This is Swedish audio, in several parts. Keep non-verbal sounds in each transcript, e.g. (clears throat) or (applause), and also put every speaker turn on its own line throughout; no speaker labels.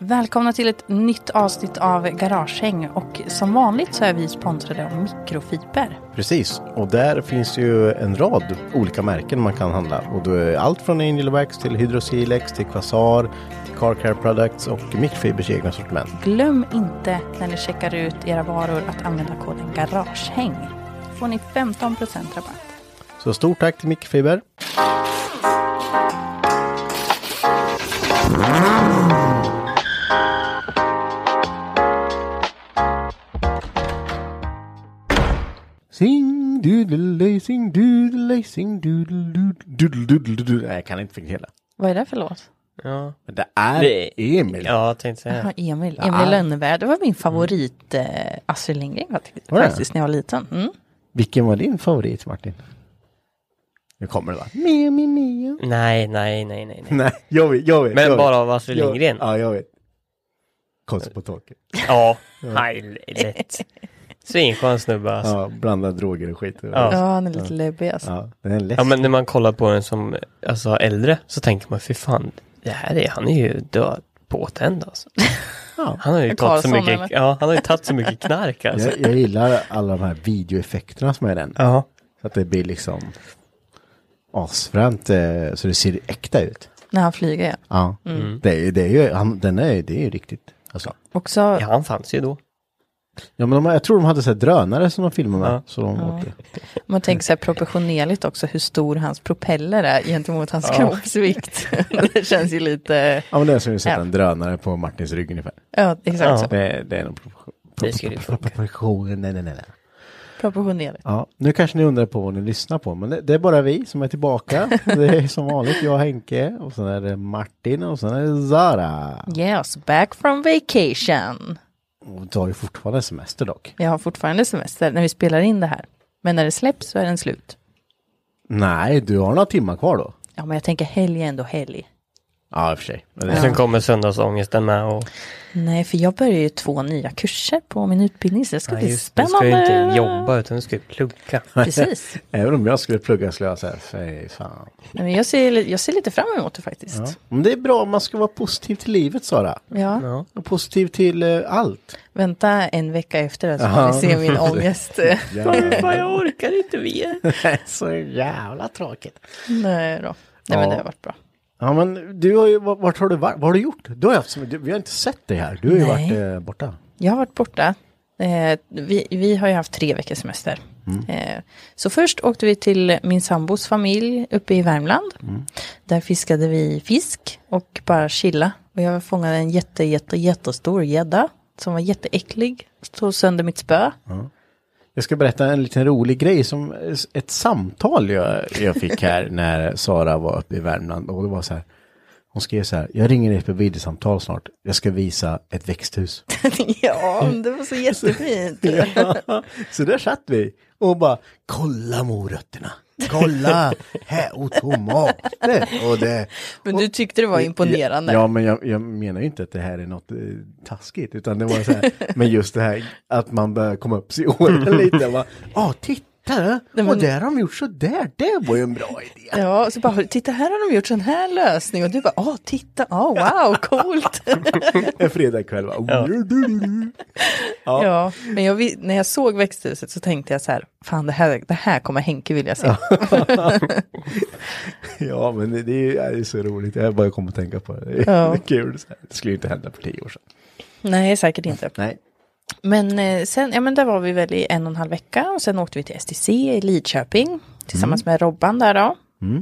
Välkomna till ett nytt avsnitt av Garagehäng och som vanligt så är vi sponsrade av mikrofiber.
Precis, och där finns ju en rad olika märken man kan handla. Och då är allt från Angel Wax till Hydrosilex till Quasar till Car Care Products och Mikrofibers egna sortiment.
Glöm inte när ni checkar ut era varor att använda koden Garagehäng. får ni 15% rabatt.
Så stort tack till Mikrofiber. Sing doodle sing doodle sing doodle doodle doodle doodle. Nej, jag kan inte hela.
Vad är det för låt?
Ja,
Men det är Emil.
ja jag tänkte säga.
Ja, Emil,
Ja.
Emil Lönneberg. Det var min favorit eh, Astrid Lindgren jag tyckte
Var det?
faktiskt när jag var liten. Mm.
Vilken var din favorit Martin? Nu kommer det va? Mio, mio, mio. (laughs)
Nej, nej, nej, nej. nej.
Nej, jag vet, jag vet.
Men
jag vet.
bara av Astrid Lindgren?
Jag, ja, jag vet. Konstigt på torket.
Ja, Mm. lätt. Svinskön snubbe alltså.
Ja, blanda droger och skit.
Ja.
Ja, han är lite läbbig alltså.
Ja, den är läskig.
Ja men när man kollar på den som alltså, äldre så tänker man fy fan, det här är, han är ju död påtänd alltså. Han har ju tagit så
Karlsson,
mycket,
eller?
ja, han har ju tagit så mycket knark alltså.
jag, jag gillar alla de här videoeffekterna som är i den.
Ja.
Så att det blir liksom asfränt eh, så det ser äkta ut.
När han flyger ja.
Ja,
Mm.
det, är, ju- det är ju, han, den är, det är ju riktigt. Alltså.
Också,
ja, han fanns ju då.
Ja, men de, jag tror de hade så här drönare som de filmade med.
Ja.
Så de åkte.
man tänker så här proportionerligt också hur stor hans propeller är gentemot hans kroppsvikt. (laughs) det känns ju lite,
Ja, men det är som att sätta
Ja.
en drönare på Martins rygg ungefär.
ja exakt
Ja.
så.
Det, det är en proportion.
Det skulle ju funka.
Proportion, nej, nej, nej. nej.
Proportionerligt.
Ja, nu kanske ni undrar på vad ni lyssnar på, men det, det är bara vi som är tillbaka. det är som vanligt jag och Henke och sen är det Martin och sen är det Zara.
Yes, back from vacation.
Och du har ju fortfarande semester dock.
Jag har fortfarande semester när vi spelar in det här. Men när det släpps så är den slut.
Nej, du har några timmar kvar då.
Ja, men jag tänker helg är ändå helg.
Ja, i och för sig. Men
Och
det-
Sen kommer söndagsångesten med och
Nej, för jag börjar ju två nya kurser på min utbildning, så det ska
nej,
bli
just, du
spännande.
ska ju inte jobba utan du ska ju plugga.
Precis.
Även om jag skulle plugga skulle jag säga, fy fan.
Nej, men jag, ser, li- jag ser lite fram emot det faktiskt.
Ja.
Ja.
Men det är bra om man ska vara positiv till livet, Sara. Och positiv till eh, allt.
Vänta en vecka efter det så får
Ja.
ni se
(laughs)
min ångest. (laughs)
Fan, jag orkar inte mer.
(laughs) Så jävla tråkigt.
Nej då. Nej, men det har varit bra.
Ja, men du har ju, va- vart har du varit? Vad har du gjort? Du har ju haft, som- du, vi har inte sett dig här. Du har ju
Nej.
varit eh, borta.
Jag har varit borta. Eh, vi, vi har ju haft tre veckors semester.
Mm.
Eh, så först åkte vi till min sambos familj uppe i Värmland.
Mm.
Där fiskade vi fisk och bara chilla. Och jag fångade en jätte, jätte, jättestor gädda som var jätteäcklig. Tog sönder mitt spö.
Jag ska berätta en liten rolig grej som ett samtal jag, jag fick här (laughs) när Sara var uppe i Värmland och det var så här. Hon skrev så här, jag ringer dig på videosamtal snart. Jag ska visa ett växthus.
(laughs)
(laughs)
ja, det var så jättefint.
Ja. så där satt vi och bara, kolla morötterna. Kolla! Här och tomater! Och det,
Men du tyckte det var imponerande.
Ja, men jag, jag menar ju inte att det här är något eh, taskigt, utan det var
(laughs)
så här, men just det här att man börjar komma upp sig i åren lite. Ja, ah, titta! Och där har de gjort så där, det var ju en bra idé.
Ja, så bara, titta här har de gjort sån här lösning och du bara, åh titta, åh wow,
(laughs)
coolt.
En fredagkväll, va?
ja. men jag, vi- när jag såg växthuset så tänkte jag så här, fan det här, det här kommer Henke vilja se.
Ja, men det, det är ju det är så roligt. Jag bara kom att tänka på (laughs) det. Det är
Ja.
kul. så här. Det skulle ju inte hända för tio år sedan.
(laughs) Nej, säkert inte.
Nej.
Men eh, sen, ja men där var vi väl i en och en halv vecka och sen åkte vi till STC i Lidköping
Mm.
tillsammans med Robban där då.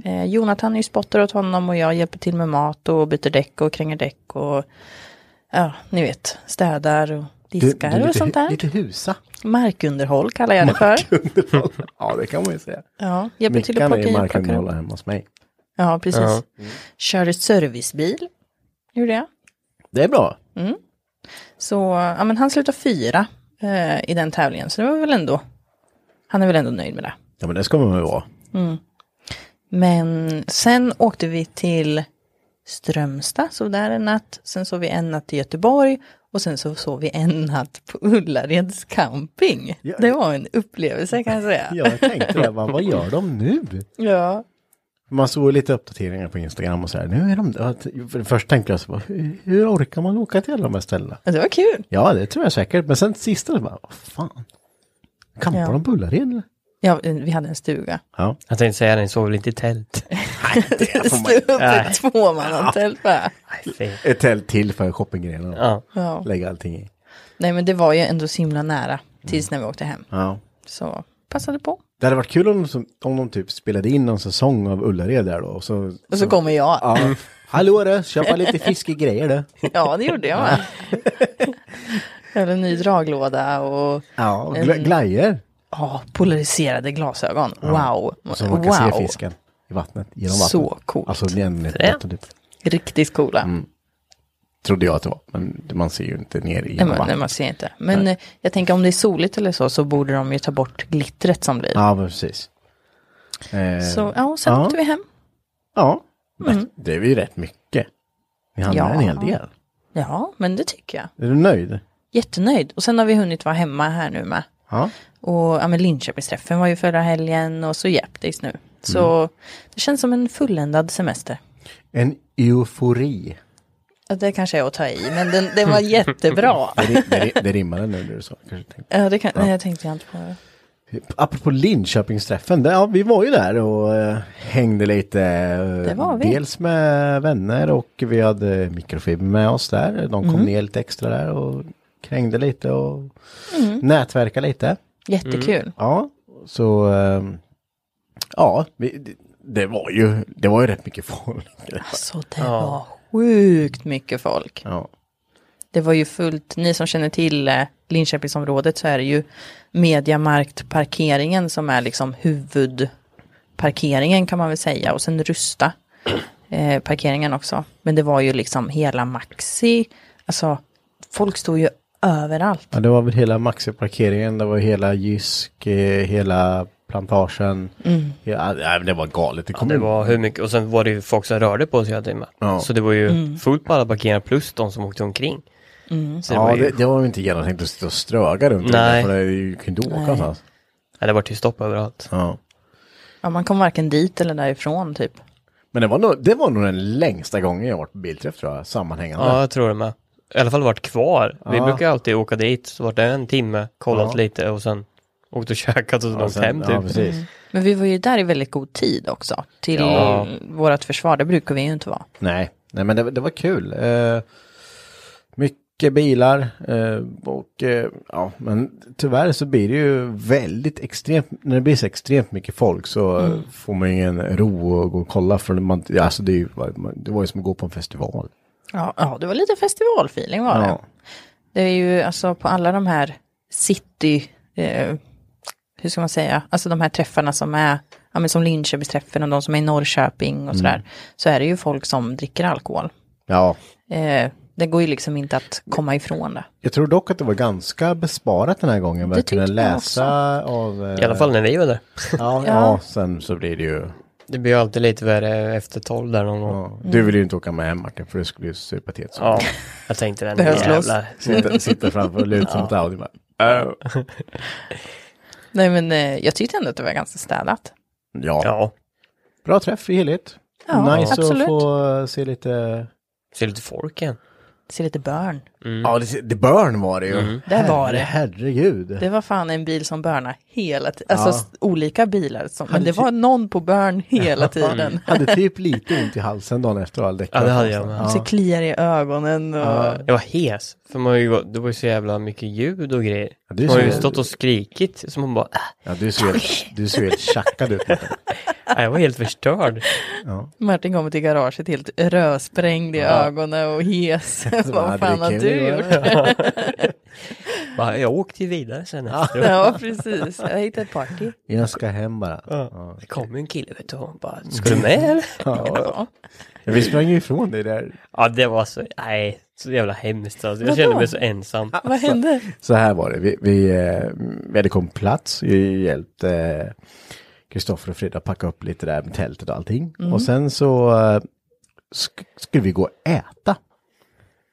Eh, Jonathan är ju spotter åt honom och jag hjälper till med mat och byter däck och kränger däck och ja, ni vet, städar och diskar och
lite,
sånt där.
hu- lite husa.
Markunderhåll kallar jag det för.
ja, det kan man ju säga.
Ja, hjälper till att plocka i
Mickan är ju
och plocka
markunderhållare
upp.
hemma hos mig.
Ja, precis.
Ja.
Körde servicebil, gjorde jag.
Det är bra.
Så ja, men han slutade fyra eh, i den tävlingen, så det var väl ändå, han är väl ändå nöjd med det.
Ja, men det ska man ju vara.
Men sen åkte vi till Strömstad, sov där en natt. Sen sov vi en natt i Göteborg och sen så sov vi en natt på Ullareds camping.
Ja.
Det var en upplevelse kan jag säga.
Ja, jag tänkte det. Vad, vad gör de nu?
ja.
Man såg lite uppdateringar på Instagram och så här. Nu är de... ja, t- För det första tänkte jag så bara, hur, hur orkar man åka till alla de här ställena?
Det var kul.
Ja, det tror jag säkert. Men sen sista, så bara, vad fan? Kampar
Ja.
de på Ullared eller?
Ja, vi hade en stuga.
Ja.
Jag tänkte säga det, ni sov väl inte i tält?
Stuga,
Nej.
tvåmannatält bara.
Nej, fy.
Ett tält till för shoppinggrenarna.
Ja.
Ja.
Lägga allting i.
Nej, men det var ju ändå så himla nära tills när vi åkte hem.
Ja.
Så passade på.
Det hade varit kul om de, som- om de typ spelade in någon säsong av Ullared där då. Och så,
Och så kommer jag. Ja,
ja. Hallå du, köpa lite fiskegrejer du.
det gjorde jag (laughs) med. Jag hade en ny draglåda och
Ja, och gla- glajer.
Ja, polariserade glasögon. Wow.
Så man kan
wow.
se fisken i vattnet. Genom vattnet.
Så coolt.
Alltså det är en
Fränt.
det
Riktigt coola.
Mm, trodde jag att det var. Men man ser ju inte ner i
Nej, man, nej,
vattnet.
man ser inte. Men eh, jag tänker om det är soligt eller så, så borde de ju ta bort glittret som blir.
Ja, men precis. Eh,
Så, ja, och sen
Ja.
åkte vi hem.
Ja, men det är ju rätt mycket. Vi handlar
Ja.
en hel del.
Ja, men det tycker jag.
Är du nöjd?
Jättenöjd. Och sen har vi hunnit vara hemma här nu med.
Ja.
Och ja, men Linköpingsträffen var ju förra helgen och så Japtis nu. Så
Mm.
det känns som en fulländad semester.
En eufori.
Ja, Det kanske är att ta i, men den, den var jättebra.
(laughs) Det, ri- det, ri- det rimmade nu när du sa kanske tänkte.
Ja, det kan, Nej, jag tänkte jag inte på. det.
Apropå Linköpingsträffen, där, ja, vi var ju där och eh, hängde lite. eh,
Det var vi.
Dels med vänner och vi hade mikrofiber med oss där. De
Mm.
kom ner lite extra där och krängde lite och
Mm.
nätverkade lite.
Jättekul.
Ja, så eh, ja, vi, det- det var ju, det var ju rätt mycket folk. (laughs)
Alltså det var sjukt mycket folk.
Ja,
Det var ju fullt, ni som känner till eh, Linköpingsområdet så är det ju Mediamarktparkeringen som är liksom huvudparkeringen kan man väl säga och sen Rusta (clears throat) eh, parkeringen också. Men det var ju liksom hela Maxi, alltså folk stod ju överallt.
ja det var väl hela Maxi-parkeringen, det var hela Jysk, eh, hela plantagen.
Mm.
Ja, nej, men det var galet. Det
Ja,
kom
det
ju-
var hur mycket, och sen var det ju folk som rörde på sig hela tiden.
Ja.
Så det var ju
Mm.
fullt på alla parkeringar plus de som åkte omkring. Så det
ja,
var ju,
det, det var ju inte genomtänkt att sitta och ströga runt.
Nej.
Nej. För det är ju kan ju inte åka någonstans.
ja, det var ju stopp överallt.
Ja.
Ja, man kom varken dit eller därifrån typ.
Men det var, nog, det var nog den längsta gången jag varit på bilträff tror jag, sammanhängande.
Ja, jag tror det med. I alla fall vart kvar. Vi
Ja.
brukar alltid åka dit, så vart det en timme, kollat
Ja.
lite och sen åkt och käkat och sen
Och
åkt
sen-
hem typ.
ja, precis.
Men vi var ju där i väldigt god tid också till
Ja.
vårat försvar, det brukar vi ju inte vara.
Nej. Nej, men det, det var kul. Eh, mycket bilar eh, och eh, ja, men tyvärr så blir det ju väldigt extremt, när det blir så extremt mycket folk så eh, får man ju ingen ro och gå och kolla för man, ja, alltså det, är ju, det var ju som att gå på en festival.
Ja, ja det var lite festivalfeeling var det.
Ja.
Det är ju alltså på alla de här city, eh, hur ska man säga, alltså de här träffarna som är, ja men som Linköpingsträffen och
Mm.
de som är i Norrköping och sådär, så är det ju folk som dricker alkohol.
Ja,
Eh, Det går ju liksom inte att komma ifrån det.
Jag tror dock att det var ganska besparat den här gången. Med att kunna
tyckte jag
läsa av... eh,
I alla fall när vi var där.
Ja, ja, sen så blir det ju...
(laughs) Det blir ju alltid lite värre efter tolv där någon gång.
Ja. Du vill ju inte åka med hem Martin, för det skulle ju se patetiskt ut.
Ja, jag tänkte den
Behövs loss.
jävlar.
Sitta, sitta framför och luta sig mot Audi bara.
Nej men eh, jag tyckte ändå att det var ganska städat.
Ja.
Ja,
Bra träff i helhet.
Ja,
nice
absolut.
att få eh, se lite...
ser lite folk igen.
Ser lite burn.
Ja, det, det burn var det ju.
Där var det.
Mm. Herregud.
Det var fan en bil som börnade hela tiden. Alltså
Ja.
s- olika bilar. Som, men
Hade
det
ty-
var någon på burn
(laughs) Mm.
hela tiden.
Hade typ lite ont i halsen dagen efter och all
Ja, det hade jag med.
Så kliar i ögonen och...
Jag var hes. För man har ju, gått- det var ju så jävla mycket ljud och grejer.
Ja, det är
man har
så-
ju stått och skrikit. Så man bara, äh,
Ja, du ser helt, du ser helt tjackad ut. Martin.
"Ah, jag var helt (laughs) förstörd.
Martin kommer till garaget helt rödsprängd i ögonen och
(laughs)
hes.
bara,
Vad fan
"Hade
har
det
du
kul,
gjort?
Bara, jag åkte ju vidare sen efteråt.
Ja, precis. Jag hittade ett party.
Jag ska hem bara. Ja.
Det kom ju en kille vet du och bara, ska du med (laughs) eller?
Ja. Vi sprang ju ifrån dig där.
Ja det var så, nej, så jävla hemskt alltså. Jag kände mig så ensam.
Vad hände?
Så här var det. Vi, vi, eh, vi hade kommit på plats. Vi hjälpte eh, Kristoffer och Frida packa upp lite där med tältet och allting. Och sen så eh, sk- skulle vi gå och äta.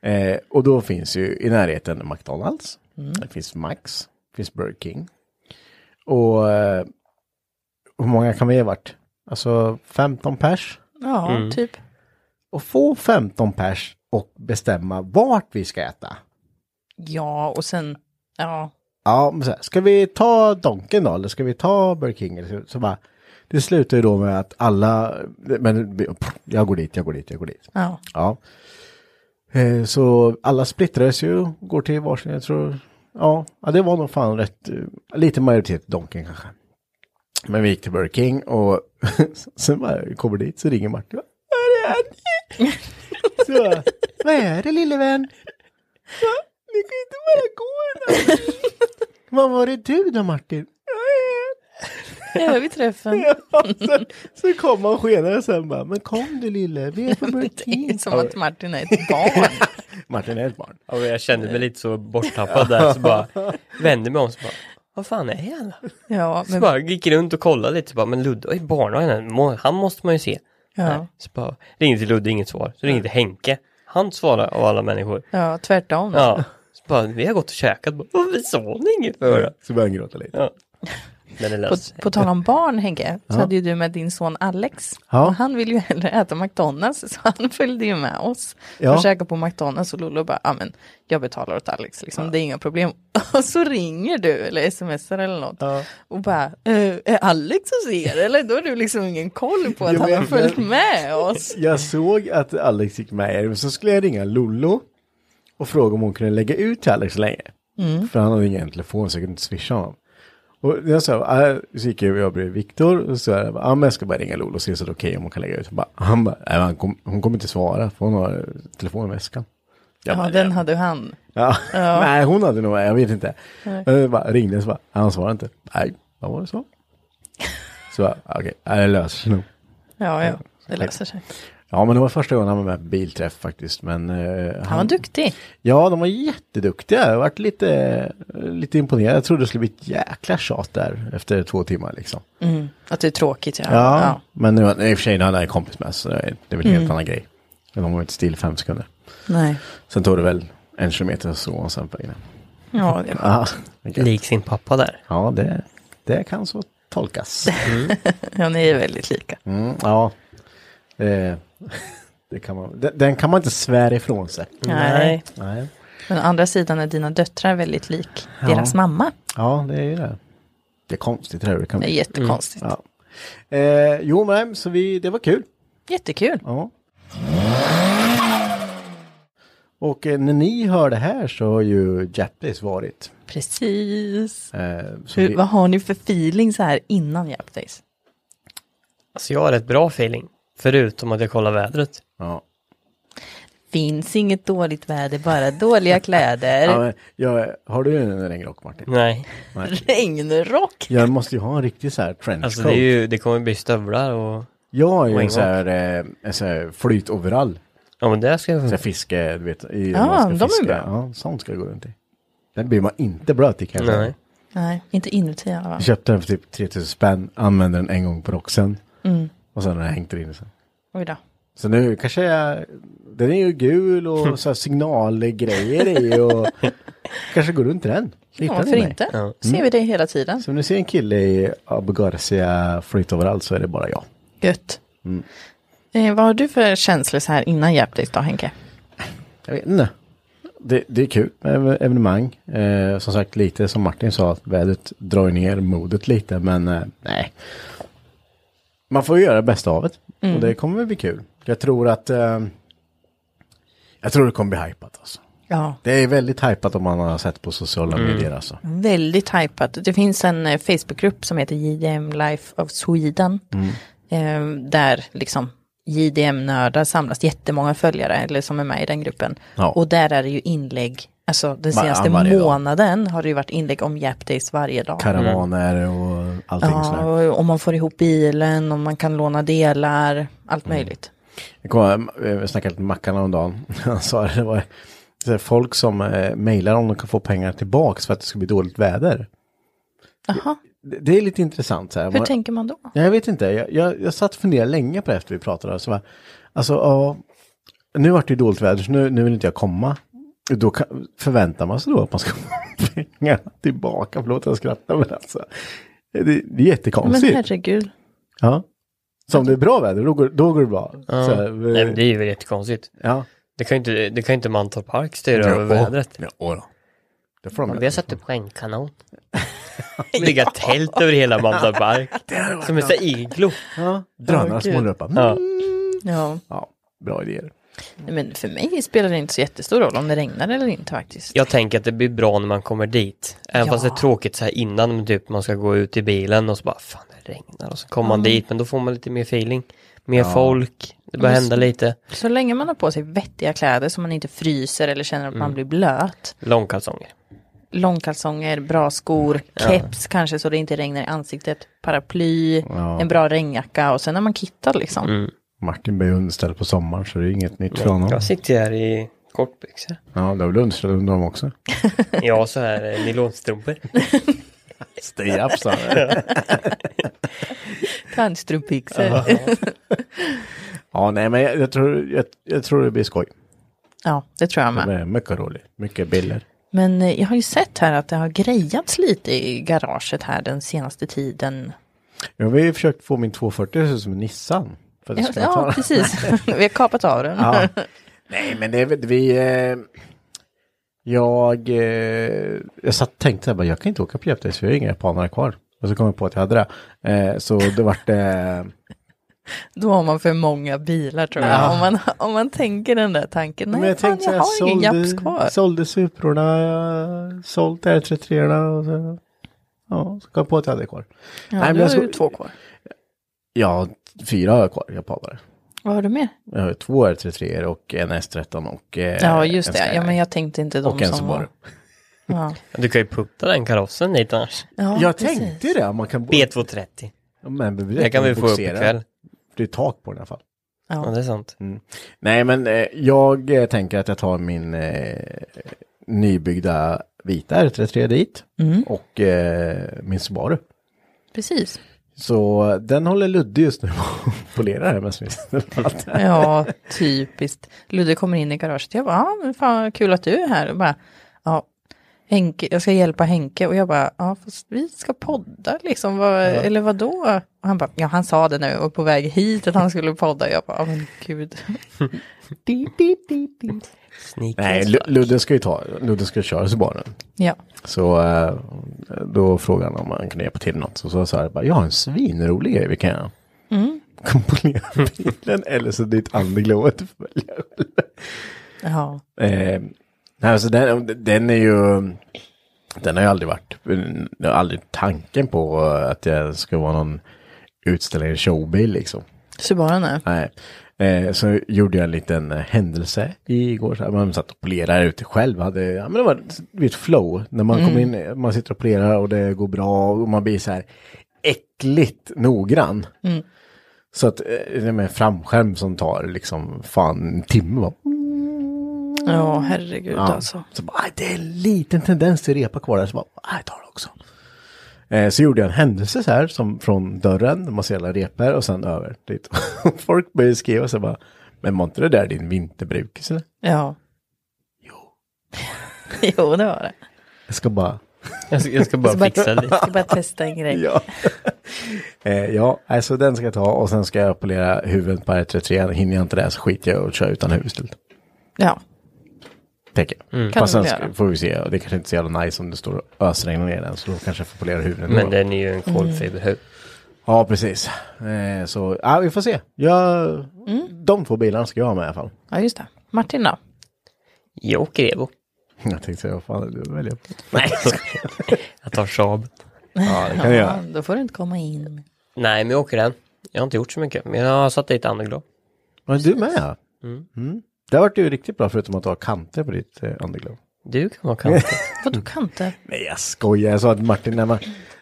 Eh, och då finns ju i närheten McDonalds. Det finns Max. Det finns Burger King. Och eh, hur många kan vi ha varit? Alltså 15 pers.
Ja,
Mm.
typ.
Och få 15 pers och bestämma vart vi ska äta.
Ja, och sen... Ja,
Ja, men så här, ska vi ta Donken då, eller ska vi ta Burger King? Eller så, så bara, det slutar ju då med att alla, men jag går dit, jag går dit, jag går dit.
ja.
Ja. Eh, Så alla splittras ju, går till varsin, jag tror, ja, ja det var nog fan rätt, eh, lite majoritet Donken kanske. Men vi gick till Burger King och (laughs) sen bara, vi kommer dit så ringer Martin. Vad är det? (laughs) Så, bara, vad är det lille vän? Va? Ni kan inte bara gå en annan. (laughs) Vad var det du då Martin?
Ja, vi träffen.
Ja, sen, (laughs) så kom han skenare sen bara, men kom du lille, vi är på
(laughs)
Burger
(laughs) Det är
King.
som att Martin är ett barn.
(laughs)
Martin är ett barn.
Ja, men jag kände mig lite så borttappad där (laughs) så bara vände mig om så bara, vad fan är han? då?"
Ja,
Så
men,
bara gick runt och kollade lite så bara, men Ludde har ju barnvagnen, må- han måste man ju se.
ja,
Så bara, ringde till Ludde, inget svar. Så ringde till Henke, han svarar av alla människor.
ja, tvärtom. (laughs)
Ja, så bara, vi har gått och käkat, bara, varför sa ni inget för? då?"
Så började han gråta lite.
Men det
Mm. På,
Alltså,
löste sig.
på tal om barn, Henke, så hade ju du med din son Alex.
Ja.
Och han ville ju hellre äta McDonalds, så han (laughs) följde ju med oss.
Ja.
Och käkade på McDonalds och Lollo bara, ja men jag betalar åt Alex, liksom, det är inga problem. (laughs) Och så ringer du, eller smsar eller något, och bara, eh, är Alex hos er? Eller då har du liksom ingen koll på att
Jo,
han har
men-
följt med oss.
Jag såg att Alex gick med er, men så skulle jag ringa Lollo och fråga om hon kunde lägga ut till Alex länge. För han hade ingen telefon så jag kunde inte swisha honom. Och jag sa, äh, så gick jag och jag bredvid Viktor och så sa jag, ah, men jag ska bara ringa Lollo och se så det är okej om hon kan lägga ut. Han bara, han bara, "Nej, men han kom, hon kommer inte svara för hon har telefonen i väskan. Jag
Ja,
bara,
den hade han.
Ja. (laughs) Nej, hon hade nog, jag vet inte. Men jag bara ringde och så bara, han svarade inte. Nej, vad var det så? Så bara, okej, ja, det löser sig nog.
Ja, ja, det löser sig.
Ja, men det var första gången han var med på bilträff faktiskt. Men, eh,
Han var duktig.
Ja, de var jätteduktiga. Jag varit lite, eh, lite imponerad. Jag trodde det skulle bli ett jäkla tjat där efter två timmar liksom.
Att det är tråkigt, ja.
Ja,
ja. Mm.
men nu, i och för sig nu hade jag en kompis med så det är det är väl en helt annan grej. Men de var inte still fem sekunder.
Nej.
Sen tog det väl en kilometer och så och sen på vägen hem.
Ja, det var,
Ja, okej.
Lik sin pappa där.
Ja, det, det kan så
(laughs)
tolkas.
ja, ni är väldigt lika.
Mm, ja, Eh, (laughs) det kan man, den, den kan man inte svära ifrån sig.
Nej.
Nej.
Men å andra sidan är dina döttrar väldigt lik deras mamma.
Ja, det är ju det. Det är konstigt det här. Det kan
Det är jättekonstigt.
Mm. Ja. Eh, jo, men så vi, det var kul.
Jättekul.
Ja. Och eh, när ni hör det här så har ju Japlis varit.
Precis.
Eh, så
Hur,
vi,
vad har ni för feeling så här innan Japdays?
Alltså jag har rätt bra feeling. Förutom att jag kollar vädret.
ja.
Finns inget dåligt väder, bara
(laughs)
dåliga
Ja,
kläder.
men, jag, har du en regnrock Martin?
Nej,
Regnrock.
Jag måste ju ha en riktig så här trenchcoat.
alltså det, är ju, det kommer bli stövlar och
Jag har ju
Och
en
en
så här, eh, en så här flytoverall.
Ja, men det ska jag...
Så här fiske, du vet. I,
Ja,
man
Ah, de
ska
är
fiska.
bra.
Ja, sånt ska jag gå runt i. Den blir man inte blöt i kanske.
Nej.
Nej, inte inuti i alla fall.
Jag köpte den för typ 3000 spänn, använde den en gång på Roxen.
Mm.
Och sen har jag hängt den in sen.
Oj då.
Så nu kanske jag, den är ju gul
Mm.
och så här signalgrejer
(laughs)
i och kanske går runt i den.
Ja,
Hittar
varför
ni mig? Mm.
inte? Ser vi det hela tiden.
Så om ni ser en kille i Abu Garcia flyt överallt så är det bara jag.
Gött.
Mm.
Eh, vad har du för känslor så här innan Jäptis då, Henke?
Jag vet inte. Det, det är kul med ev- evenemang. Eh, som sagt lite som Martin sa, att vädret drar ju ner modet lite men eh, nej. Man får ju göra det bästa av det. Och det kommer väl bli kul. Jag tror att eh, jag tror det kommer bli hypat alltså.
Ja,
Det är väldigt hypat om man har sett på sociala medier alltså.
väldigt hypat. Det finns en eh, Facebookgrupp som heter JDM Life of Sweden.
Mm.
Eh, där liksom JDM-nördar samlas, jättemånga följare eller som är med i den gruppen.
Ja.
Och där är det ju inlägg, alltså den
Va-
senaste
varje dag.
månaden har det ju varit inlägg om Jap Days varje dag.
Karavaner och allting
Ja,
sådär.
och om man får ihop bilen, om man kan låna delar, allt
Mm.
möjligt.
Jag, kom, jag snackade lite med Mackan häromdagen. (laughs) Han sa det, det var så här, folk som eh, mejlar om de kan få pengar tillbaks för att det ska bli dåligt väder.
Jaha,
Det, det är lite intressant. Så här.
hur
Man-
tänker man då?
Nej, Jag vet inte, jag, jag, jag satt och funderade länge på det efter vi pratade. Så bara, alltså, ja, nu vart det ju dåligt väder så nu, nu vill inte jag komma. Då kan, förväntar man sig då att man ska (laughs) få pengarna tillbaka. Förlåt att jag skrattar men alltså. Det, det är
Men
jättekonstigt.
herregud.
Ja. Så om det är bra väder, då går, då går det bra. Så här, eh,
Nej, men det är ju väl jättekonstigt.
ja.
Det kan ju inte, det kan ju inte Mantorp Park styra över vädret.
Ja, åh då. Det får de
Vi har satt upp regnkanon. Bygga tält över hela Mantorp Park. Som en sån här iglo.
ja. drönare som
Gud.
håller upp.
Ja.
Ja.
ja, bra idéer.
Nej, Men för mig spelar det inte så jättestor roll om det regnar eller inte faktiskt.
Jag tänker att det blir bra när man kommer dit. Även fast det är tråkigt så här innan, men typ man ska gå ut i bilen och så bara fan det regnar och så kommer man dit, men då får man lite mer feeling. Mer folk, det börjar hända lite.
Så länge man har på sig vettiga kläder så man inte fryser eller känner att
Mm.
man blir blöt.
Långkalsonger.
Långkalsonger, bra skor, keps kanske så det inte regnar i ansiktet, paraply, en bra regnjacka och sen är man kittad liksom.
Mm. Martin blir underställd på sommaren så det är inget nytt för honom.
Mm. Jag sitter här i kortbyxor.
Ja, det är väl underställd under dem också.
Ja, så här eh, nylonstrumpor.
Stay up sa han.
Tandstrumpbyxor.
(laughs) Ja, nej men jag, jag, tror, jag, jag tror det blir skoj.
Ja, det tror jag
Det
med.
blir mycket roligt, mycket bilder.
Men eh, jag har ju sett här att det har grejats lite i garaget här den senaste tiden.
Jag har ju försökt få min 240 att se ut som en Nissan. För att jag
Ja,
ska ta
ja
den. (laughs)
precis. Vi har kapat av den.
Ja. Nej, men det är väl- vi... Eh, jag eh, jag satt och tänkte så här, bara, jag kan inte åka på Jäptes för jag har inga japanare kvar. Och så kom jag på att jag hade det. Eh, så det vart... Eh,
Då har man för många bilar tror jag.
Ja.
Om, man, om man tänker den där tanken. Nej,
men
jag fan, jag har ingen japs kvar.
sålde Suprorna, sålt R33orna och så... Ja, så kom jag på att jag hade kvar.
ja,
Nej, men
du
jag
har
ska-
ju två kvar.
Ja, fyra har jag kvar japanare.
Vad har du mer?
Jag har två R33 och en S13 och... Eh,
Ja, just
en
det. Ja,
Skyline.
men jag tänkte inte de
Och en
som
Subaru.
var... Ja.
Du kan ju putta den karossen dit annars.
Ja,
jag
precis.
tänkte ju det, man kan... bo-
B230.
Ja, men,
Det kan vi få upp
boxera.
ikväll.
Det är tak på den i alla fall.
Ja, det är sant.
Nej, men eh, jag eh, tänker att jag tar min eh, nybyggda vita R33 dit
Mm.
och eh, min Subaru.
Precis.
Så den håller Ludde just nu och (laughs) polerar här med sin
Ja, typiskt. Ludde kommer in i garaget. Jag bara, ja, men fan vad kul att du är här. Och bara, ja, Henke, jag ska hjälpa Henke. Och jag bara, ja, fast vi ska podda liksom. Vad, Eller vad då? Och han bara, ja, han sa det nu och på väg hit att han skulle podda. Jag bara, ja, men gud. Di, di, di, di.
Nej, Lu- Ludde ska ju ta, Ludde ska köra Subarun.
Ja,
Så eh, då frågade han om han kunde hjälpa till med något. Så sa jag så här, bara, jag har en svinrolig grej vi kan göra. Mm. Komponera (laughs) bilen eller så ditt underglowet följer.
ja.
Eh, nej, alltså den, den är ju... Den har ju aldrig varit... Jag har aldrig tanken på att det ska vara någon utställning eller showbil liksom.
Subaru nu.
Nej. Eh, så gjorde jag en liten eh, händelse igår. Så här, man satt och polerade ute själv. Hade, ja, men det var du vet, flow. När man kommer in, eh, man sitter och polerar och det går bra och man blir så här äckligt noggrann. Så att eh, det är med en framskärm som tar liksom fan en timme. va?
Ja, herregud alltså.
Så bara, "Aj, det är en liten tendens till repa kvar där. Så bara, "Aj, jag tar det också. Eh, så gjorde jag en händelse så här, som från dörren, massa jävla repor och sen över dit. (laughs) Folk började skriva så bara, men var inte det där din vinterbrukis eller?
Ja. Jo. (laughs) jo, det var det.
Jag ska bara,
Jag ska, jag ska bara fixa
Jag
det.
ska bara testa en grej.
(laughs) ja. eh, ja, alltså den ska jag ta och sen ska jag polera huvudet på R33. Hinner jag inte det så skiter jag och kör utan huvud istället.
Ja,
Tänker jag.
Kan
Fast
du
sen
göra.
ska, får vi se, det kanske inte är så jävla nice om det står och ösregnar ner den. Så då kanske jag får polera huvudet.
Men
ändå.
den är ju en
Mm.
kolfiberhud.
Ja, precis. Eh, så ja, vi får se. Jag,
Mm.
De två bilarna ska jag ha med i alla fall. (laughs)
ja just det. Martin då?
Jag åker Evo.
Jag tänkte, vad fan, du väljer.
Nej,
(laughs)
jag tar Saab.
Ja, det kan jag
Ja,
göra.
då får du inte komma in.
Nej, men jag åker den. Jag har inte gjort så mycket, men jag har satt dit underglow.
Men du med. Mm. Det har varit ju riktigt bra förutom att du har kanter på ditt eh, underglow.
Du kan vara kanske.
(laughs)
Vadå kanter?
Nej, jag skojar. Jag sa att Martin, när man,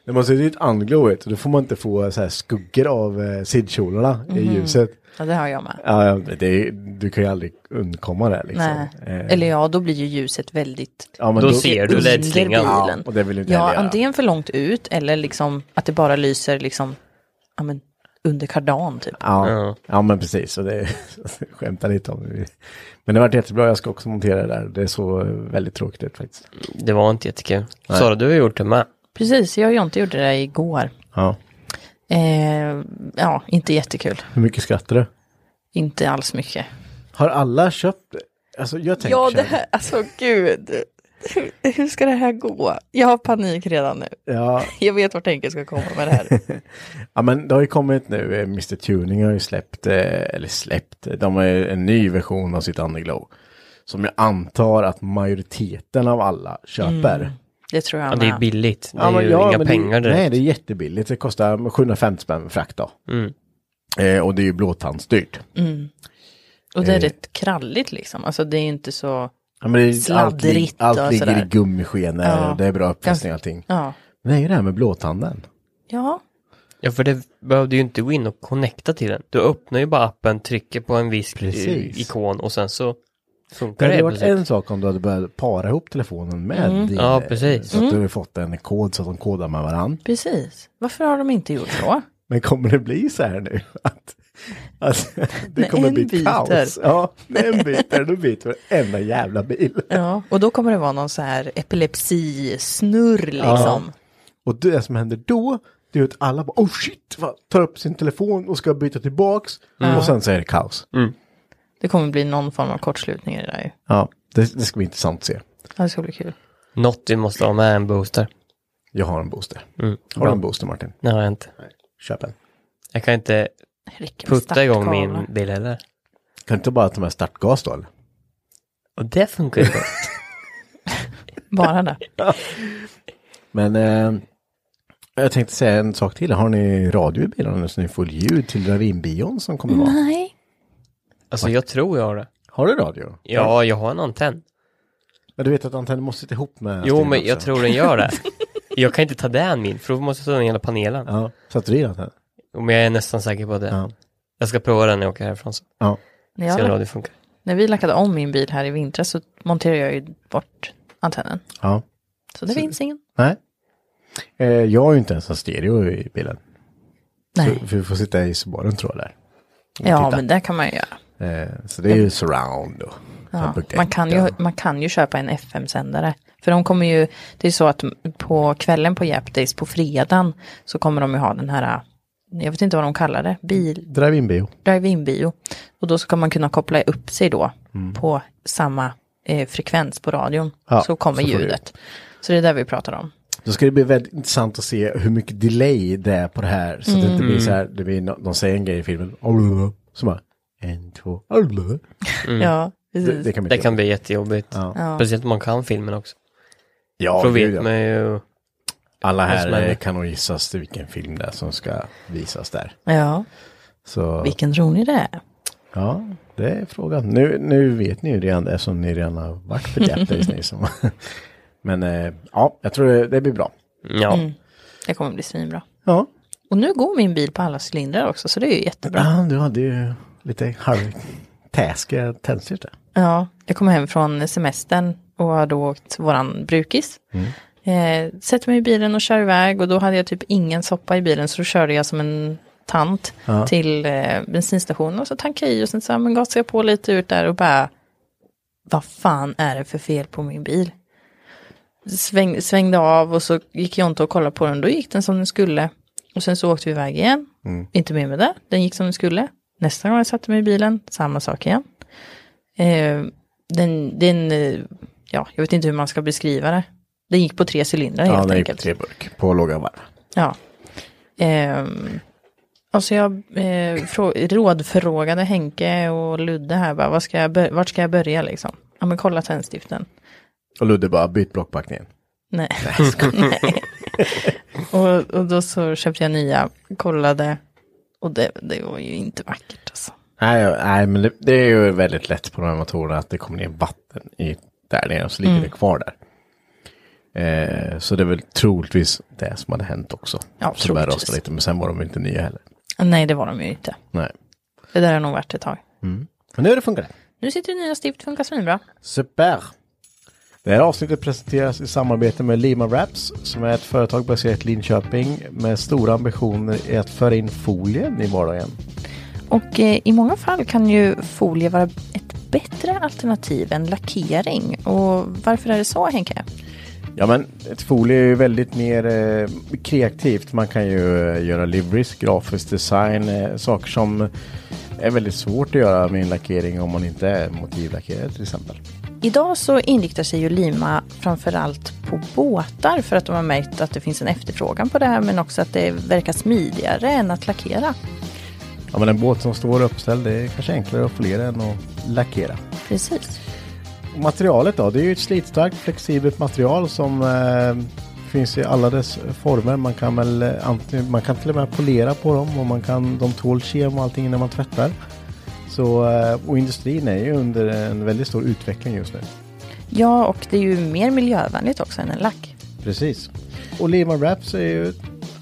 när man ser ditt underglow, vet, du, då får man inte få så här skuggor av eh, sidkjolarna i
Mhm.
ljuset.
Ja, det har jag med.
Ja, ja, men det, är- du kan ju aldrig undkomma det liksom.
Nej.
Eh,
Eller ja, då blir ju ljuset väldigt...
ja, men
Då ser du
under
LED-slingan.
Ja,
bilen.
och det vill du inte
Ja,
heller göra.
antingen för långt ut eller liksom att det bara lyser liksom ja, men, under kardan typ.
Ja, ja men precis. Och det (laughs) skämtar lite om det. Men det har varit jättebra. Jag ska också montera det där. Det såg väldigt tråkigt ut faktiskt.
Det var inte jättekul. Sara, du har gjort det med.
Precis, jag och Jonte gjorde det igår.
Ja.
Eh, ja, inte jättekul.
Hur mycket skrattar du?
Inte alls mycket.
Har alla köpt? Alltså jag tänker
Ja,
så
det
här-
här, alltså gud. Hur, hur ska det här gå? Jag har panik redan nu.
Ja,
Jag vet vart Henke ska komma med det här.
ja, men det har ju kommit nu. eh, Mr Tuning har ju släppt, eh, eller släppt, de har ju en ny version av sitt Underglow. Som jag antar att majoriteten av alla köper.
Mm. Det tror jag
Ja, det är
med.
billigt. Det är
men
ju inga
men det,
pengar direkt.
Nej, det är jättebilligt. Det kostar 750 spänn med frakt då. Eh, och det är ju blåtandsdyrt.
Och
eh.
det är rätt kralligt liksom. Alltså det är inte så...
Ja, men det är
Sladdrigt
allt, lig-
och
allt ligger i
sådär.
gummiskenor
Ja.
och det är bra uppfästning och allting.
Ja.
Men det är ju det här med blåtanden.
Ja.
Ja, för det behövde ju inte gå in och connecta till den. Du öppnar ju bara appen, trycker på en viss
Precis.
eh, ikon och sen så
Det
funkar det.
hade varit
plötsligt.
en sak om du hade börjat para ihop telefonen med
Mm.
din. eh,
Ja, precis.
Så att du hade fått en kod så att de kodar med varandra.
Precis. Varför har de inte gjort så?
Men kommer det bli så här nu? Att, att det kommer
en
bli
byter.
kaos. Ja, när en byter, då byter varenda jävla bil.
Ja. Och då kommer det vara någon så här epilepsisnurr liksom.
Och det som händer då, det är att alla bara, oh shit, vad, tar upp sin telefon och ska byta tillbaks. Och sen så är det kaos.
Det kommer bli någon form av kortslutning i det där ju.
Ja, det, det ska bli intressant att se.
Ja, det ska bli kul.
Något vi måste ha med är en booster.
Jag har en booster. har du
bra.
en booster Martin?
Nej, jag har inte.
Köp en.
Jag kan inte
Herregud,
putta igång
startkablar.
min bil heller.
Kan du inte bara ta med startgas då? eller?
Och det funkar ju bra.
Bara det.
Men eh, jag tänkte säga en sak till. Har ni radio i bilarna nu så ni får ljud till Ravinbion som kommer
(laughs)
vara?
Nej.
(laughs) Alltså jag tror jag har det.
Har du radio?
Ja, jag har en antenn.
Men du vet att antennen måste sitta ihop med
Jo,
styret
men jag
också.
tror den gör det. (laughs) Jag kan inte ta den min, för då måste jag ta den hela panelen.
Ja, satte du i antennen?
Men jag är nästan säker på det.
Ja.
Jag ska prova den när jag åker härifrån. Så.
Ja.
När,
Se om
jag,
radio funkar.
när vi lackade om min bil här i vintras så monterade jag ju bort antennen.
Ja.
Så det finns ingen.
Nej. Eh, jag har ju inte ens en stereo i bilen.
Nej.
För vi får sitta i subaru tror jag där.
Ja,
titta.
men det kan man ju göra.
Eh, så det är ju surround och
Ja,
5.1
man, kan ju,
och-
man kan ju köpa en FM-sändare. För de kommer ju, det är så att på kvällen på Yap Days på fredagen så kommer de ju ha den här, jag vet inte vad de kallar det, bil,
Drive-in bio.
drive-in bio. Och då ska man kunna koppla upp sig då på samma eh, frekvens på radion.
Mm. Ja,
så kommer
så får du
ljudet. Så det är det vi pratar om.
Då ska det bli väldigt intressant att se hur mycket delay det är på det här. Så att det inte
Mm.
blir så här, det blir, no- de säger en grej i filmen, så bara, en, två,
Ja,
Mm. det,
precis.
det kan bli
Det
kul.
kan bli jättejobbigt.
Ja.
Speciellt om man kan filmen också.
ja,
För då
gud,
vet
ja.
man ju.
Alla
vad
här
som
eh,
händer.
kan nog gissas vilken film det är som ska visas där.
Ja,
Så
vilken rolig det är.
ja, det är frågan. Nu, nu vet ni ju redan det som ni redan har varit
(laughs)
på Gap Days, ni som. (laughs) Men eh, ja, jag tror det, det blir bra.
Ja,
Det kommer bli svinbra.
Ja,
Och nu går min bil på alla cylindrar också, så det är ju jättebra.
Ja, du hade ju lite halvtäskiga tändstift
Ja, jag kom hem från semestern och har då åkt våran brukis. Eh, sätter mig i bilen och kör iväg och då hade jag typ ingen soppa i bilen så då körde jag som en tant till eh, bensinstationen och så tankade jag i och sen så här, men gasade jag på lite ut där och bara vad fan är det för fel på min bil? Sväng, svängde av och så gick jag inte och kollade på den, då gick den som den skulle. Och sen så åkte vi iväg igen,
Mm.
inte mer med det, den gick som den skulle. Nästa gång jag satte mig i bilen, samma sak igen. Eh, den, den, eh, ja, jag vet inte hur man ska beskriva det. Den gick på tre cylindrar
Ja,
helt
den gick på
enkelt.
tre burk på låga varv.
Ja. Ehm, alltså jag eh, frå- rådförfrågade Henke och Ludde här bara, vad ska jag bör- vart ska jag börja liksom? Ja men kolla tändstiften.
Och Ludde bara byt blockpackningen.
Nej. Nej. och, och då så köpte jag nya, kollade och det, det var ju inte vackert alltså.
(laughs) Nej, ja, nej men det, det är ju väldigt lätt på de här motorerna att det kommer ner vatten i, där nere och så ligger
Mm.
det kvar där. Eh, så det är väl troligtvis det som hade hänt också.
Ja,
som började
troligtvis.
rosta lite, men sen var de inte nya heller.
Nej det var de ju inte.
Nej.
Det där har nog varit ett tag.
Men nu har det funkat.
Nu sitter det nya stift, funkar svinbra.
Super! Det här avsnittet presenteras i samarbete med Lima Wraps som är ett företag baserat i Linköping med stora ambitioner i att föra in folien i vardagen.
Och eh, i många fall kan ju folie vara ett bättre alternativ än lackering. Och varför är det så Henke?
Ja men ett folie är ju väldigt mer eh, kreativt. Man kan ju eh, göra liveries, grafisk design, eh, saker som är väldigt svårt att göra med en lackering om man inte är motivlackerad till exempel.
Idag så inriktar sig ju Lima framförallt på båtar för att de har märkt att det finns en efterfrågan på det här men också att det verkar smidigare än att lackera.
Ja men en båt som står uppställd det är kanske enklare att foliera än att lackera.
Precis.
Och Materialet då, det är ju ett slitstarkt flexibelt material som eh, finns i alla dess former. Man kan, väl, eh, antingen, man kan till och med polera på dem och man kan, de tål kem och allting när man tvättar. Så, eh, och industrin är ju under en väldigt stor utveckling just nu.
Ja, och det är ju mer miljövänligt också än en lack.
Precis. Och Lima Wraps är ju,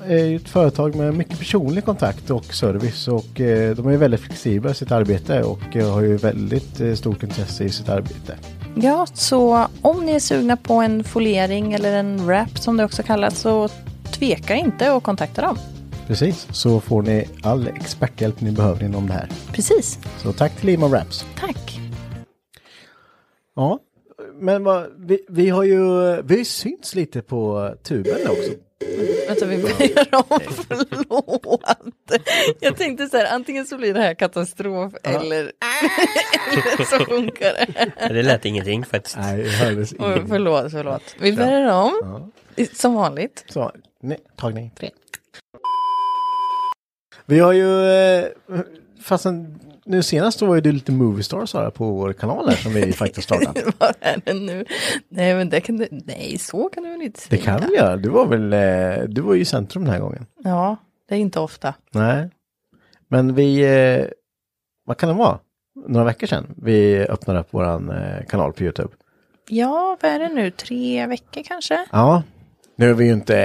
är ju ett företag med mycket personlig kontakt och service och eh, de är väldigt flexibla i sitt arbete och eh, har ju väldigt eh, stort intresse i sitt arbete.
Ja, så om ni är sugna på en foliering eller en wrap som det också kallas så tveka inte att kontakta dem.
Precis, så får ni all experthjälp ni behöver inom det här.
Precis.
Så tack till Lima Raps.
Tack.
Ja, men vad, vi, vi har ju vi har ju synts lite på tuben också.
Vänta, vi börjar (laughs) om. Förlåt. Jag tänkte så här, antingen så blir det här katastrof eller, eller så funkar det.
Det lät ingenting faktiskt.
Nej, det hördes
Oj,
ingenting.
Förlåt, förlåt. Vi börjar om. Som vanligt.
Så, nej, tagning tre. Vi har ju, eh, fastän nu senast då var ju du lite Moviestar Sara på vår kanal här som vi faktiskt startat.
Vad är det nu? Nej, men det kan du, nej, så kan du väl inte
Det
säga.
kan vi göra, du var väl, eh, du var ju i centrum den här gången.
Ja, det är inte ofta.
Nej. Men vi, eh, vad kan det vara? Några veckor sedan vi öppnade upp våran eh, kanal på Youtube.
Ja, vad är det nu? Tre veckor kanske?
Ja. Nu är vi ju inte,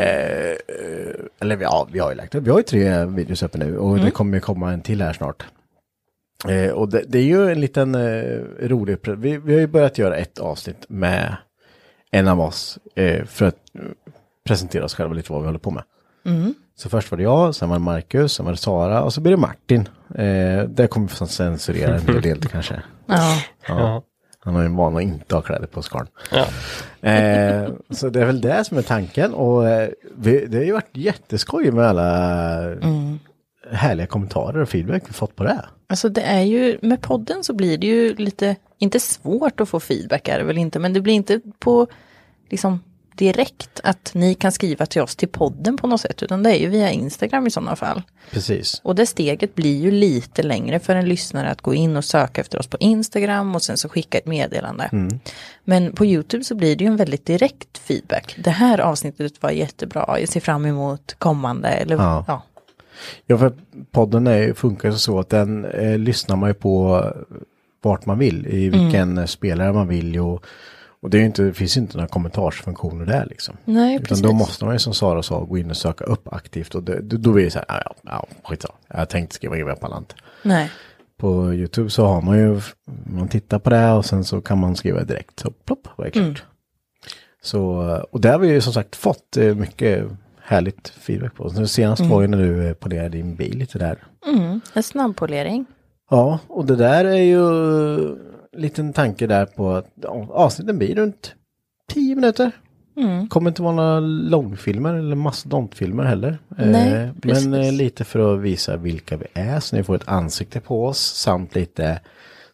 eh, eller vi- ja, vi har ju lagt upp, vi har ju tre videos uppe nu och det kommer ju komma en till här snart. Eh, och det, det är ju en liten eh, rolig, pr- vi, vi har ju börjat göra ett avsnitt med en av oss eh, för att eh, presentera oss själva lite vad vi håller på med. Så först var det jag, sen var det Marcus, sen var det Sara och så blir det Martin. Eh, där kommer vi att censurera en hel del kanske.
Ja.
Ja. Mm.
Han har ju en vana att inte ha kläder på skarn. (laughs) Eh, så det är väl det som är tanken. Och eh, vi, det har ju varit jätteskoj med alla härliga kommentarer och feedback vi fått på det.
Alltså det är ju, med podden så blir det ju lite, inte svårt att få feedback är det väl inte, men det blir inte på, liksom direkt att ni kan skriva till oss till podden på något sätt, utan det är ju via Instagram i sådana fall.
Precis.
Och det steget blir ju lite längre för en lyssnare att gå in och söka efter oss på Instagram och sen så skicka ett meddelande.
Mm.
Men på YouTube så blir det ju en väldigt direkt feedback. Det här avsnittet var jättebra, jag ser fram emot kommande eller
Ja.
ja.
Ja, för podden är, ju- funkar ju så att den eh, lyssnar man ju på vart man vill, i vilken eh, spelare man vill och, Och det, är ju inte, det finns ju inte några kommentarsfunktioner där liksom.
Nej,
Utan
precis.
då måste man ju som Sara sa gå in och söka upp aktivt och det, då då blir det så här, ja, ja, ja skitsamma. Jag tänkte skriva GW Palant.
Nej.
På YouTube så har man ju, man tittar på det och sen så kan man skriva direkt. Så plopp, var det klart. Så, och där har vi ju som sagt fått eh, mycket härligt feedback på. Så senast var ju när du eh, polerade din bil lite där.
Mm, En snabbpolering.
Ja, och det där är ju eh, en liten tanke där på att ja, avsnitten blir runt 10 minuter.
Mm.
Kommer inte vara några långfilmer eller mastodontfilmer heller.
Nej, precis.
men eh, lite för att visa vilka vi är så ni får ett ansikte på oss samt lite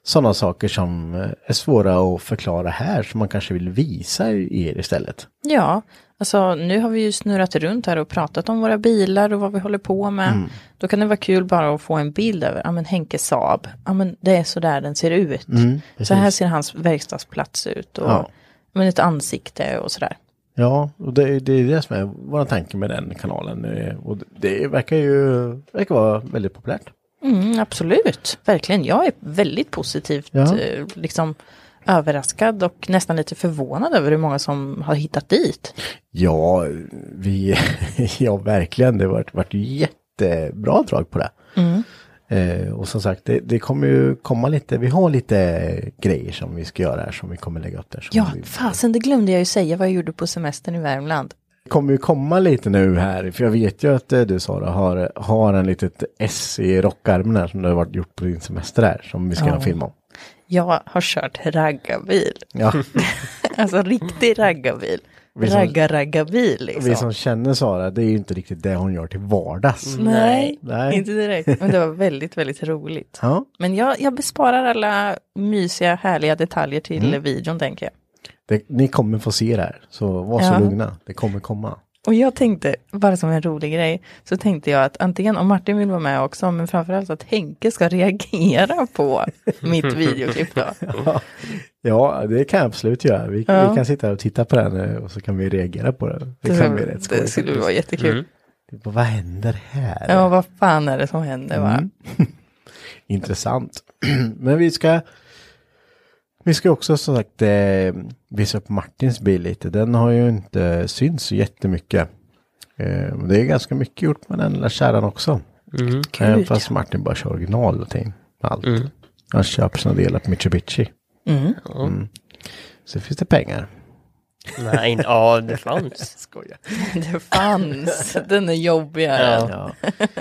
sådana saker som eh, är svåra att förklara här som man kanske vill visa er istället.
Ja, alltså nu har vi ju snurrat runt här och pratat om våra bilar och vad vi håller på med. Då kan det vara kul bara att få en bild över, ja men Henke Saab, ja men det är så där den ser ut. så här ser hans verkstadsplats ut och
Ja.
ja. men ett ansikte och sådär.
Ja, och det, är- det är det som är vår tanke med den kanalen. eh, Och det verkar ju verkar vara väldigt populärt.
Mm, absolut, verkligen. Jag är väldigt positivt
Ja.
eh, liksom överraskad och nästan lite förvånad över hur många som har hittat dit.
Ja, vi, (laughs) ja verkligen. Det har varit, varit jättebra drag på det.
Mm.
Eh, och som sagt, det, det kommer ju komma lite, vi har lite grejer som vi ska göra här som vi kommer lägga upp där. som
Ja,
vi,
fasen det glömde jag ju säga vad jag gjorde på semestern i Värmland.
Det kommer ju komma lite nu här, för jag vet ju att eh, du Sara har, har en litet S i rockarmen här som du har varit gjort på din semester här som vi ska göra en film om.
Jag har kört raggarbil. (laughs)
Ja,
Alltså riktig raggarbil.
Mm. Vi som-
Raggar-raggarbil liksom.
vi som känner Sara, det är ju inte riktigt det hon gör till
Mm.
vardags.
Nej,
Nej.
inte direkt. Men det var väldigt, väldigt roligt.
Ja.
Men jag, jag besparar alla mysiga, härliga detaljer till
Mm.
videon tänker jag.
Det, ni kommer få se det här, så var så
Ja.
lugna, det kommer komma.
Och jag tänkte, bara som en rolig grej, så tänkte jag att antingen om Martin vill vara med också, men framförallt att Henke ska (laughs) reagera på mitt videoklipp då.
Ja, det kan jag absolut göra. Vi,
Ja.
vi kan sitta här och titta på den eh, och så kan vi reagera på den. (laughs) Det, kan bli rätt skoj.
det skulle vara jättekul.
Typ, Vad händer här?
Ja, vad fan är det som händer va?
Mm. (laughs) Intressant. (clears throat) Men vi ska vi ska också som sagt eh, visa upp Martins bil lite. Den har ju inte synts så jättemycket. Eh, men det är ganska mycket gjort med den lilla kärran också.
Mm.
Även fast Martin bara kör original och ting. med
Mm.
Allt. Han köper sina delar på Mitsubishi. Mm. Så finns det pengar.
Nej, inte- ja
(laughs)
det fanns.
Skoja.
(laughs) Det fanns, den är jobbigare.
Ja.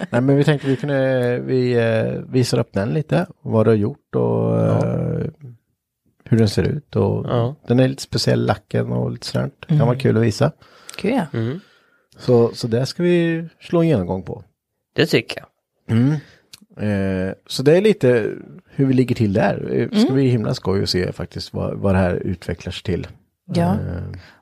Nej men vi tänkte vi kunde, vi eh, visar upp den lite, vad du har gjort och eh, hur den ser ut och
Ja.
den är lite speciell lacken och lite sånt. Det kan vara kul att visa.
Gud, ja.
Mm.
Så, så det ska vi slå en genomgång på.
Det tycker jag.
Eh, så det är lite hur vi ligger till där. Eh, ska bli himla skoj att se faktiskt vad, vad det här utvecklar sig till. Eh,
Ja,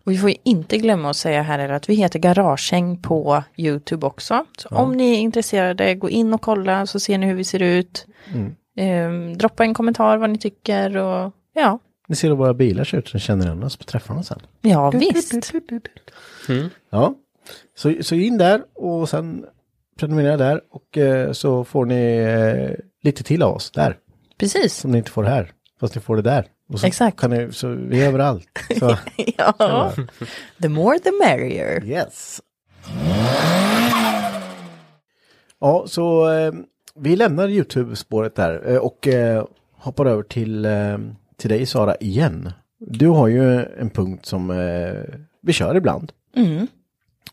och vi får ju inte glömma att säga här är att vi heter Garagehäng på YouTube också. Så om ni är intresserade, gå in och kolla så ser ni hur vi ser ut.
mm.
Ehm, droppa en kommentar vad ni tycker och ja,
Ni ser hur våra bilar ser ut så känner ni oss på träffarna sen.
ja visst.
Mm.
Ja, så, så in där och sen prenumerera där och eh, så får ni eh, lite till av oss där
Precis.
som ni inte får här. Fast ni får det där. Och så
Exakt.
Kan ni, så vi är överallt. Så,
(laughs) Ja. The more the merrier.
yes. Ja, så eh, vi lämnar YouTube-spåret där eh, och eh, hoppar över till, eh, till dig Sara igen. Du har ju en punkt som eh, vi kör ibland.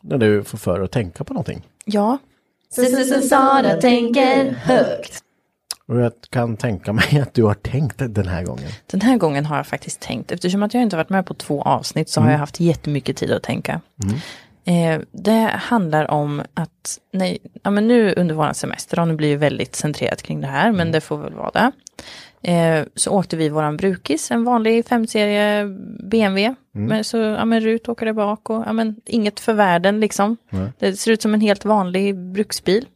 När du får för att tänka på någonting.
Ja,
Sara tänker högt.
Och jag kan tänka mig (laughs) att du har tänkt det den här gången.
den här gången har jag faktiskt tänkt, eftersom att jag inte har varit med på två avsnitt så har jag haft jättemycket tid att tänka. Eh, det handlar om att, nej, ja, men nu under våran semester, och nu blir ju väldigt centrerat kring det här, men det får väl vara det. Eh, så åkte vi våran brukis, en vanlig femserie BMW. Men så, ja men Rut åker där bak och, ja men inget för världen liksom. Det ser ut som en helt vanlig bruksbil.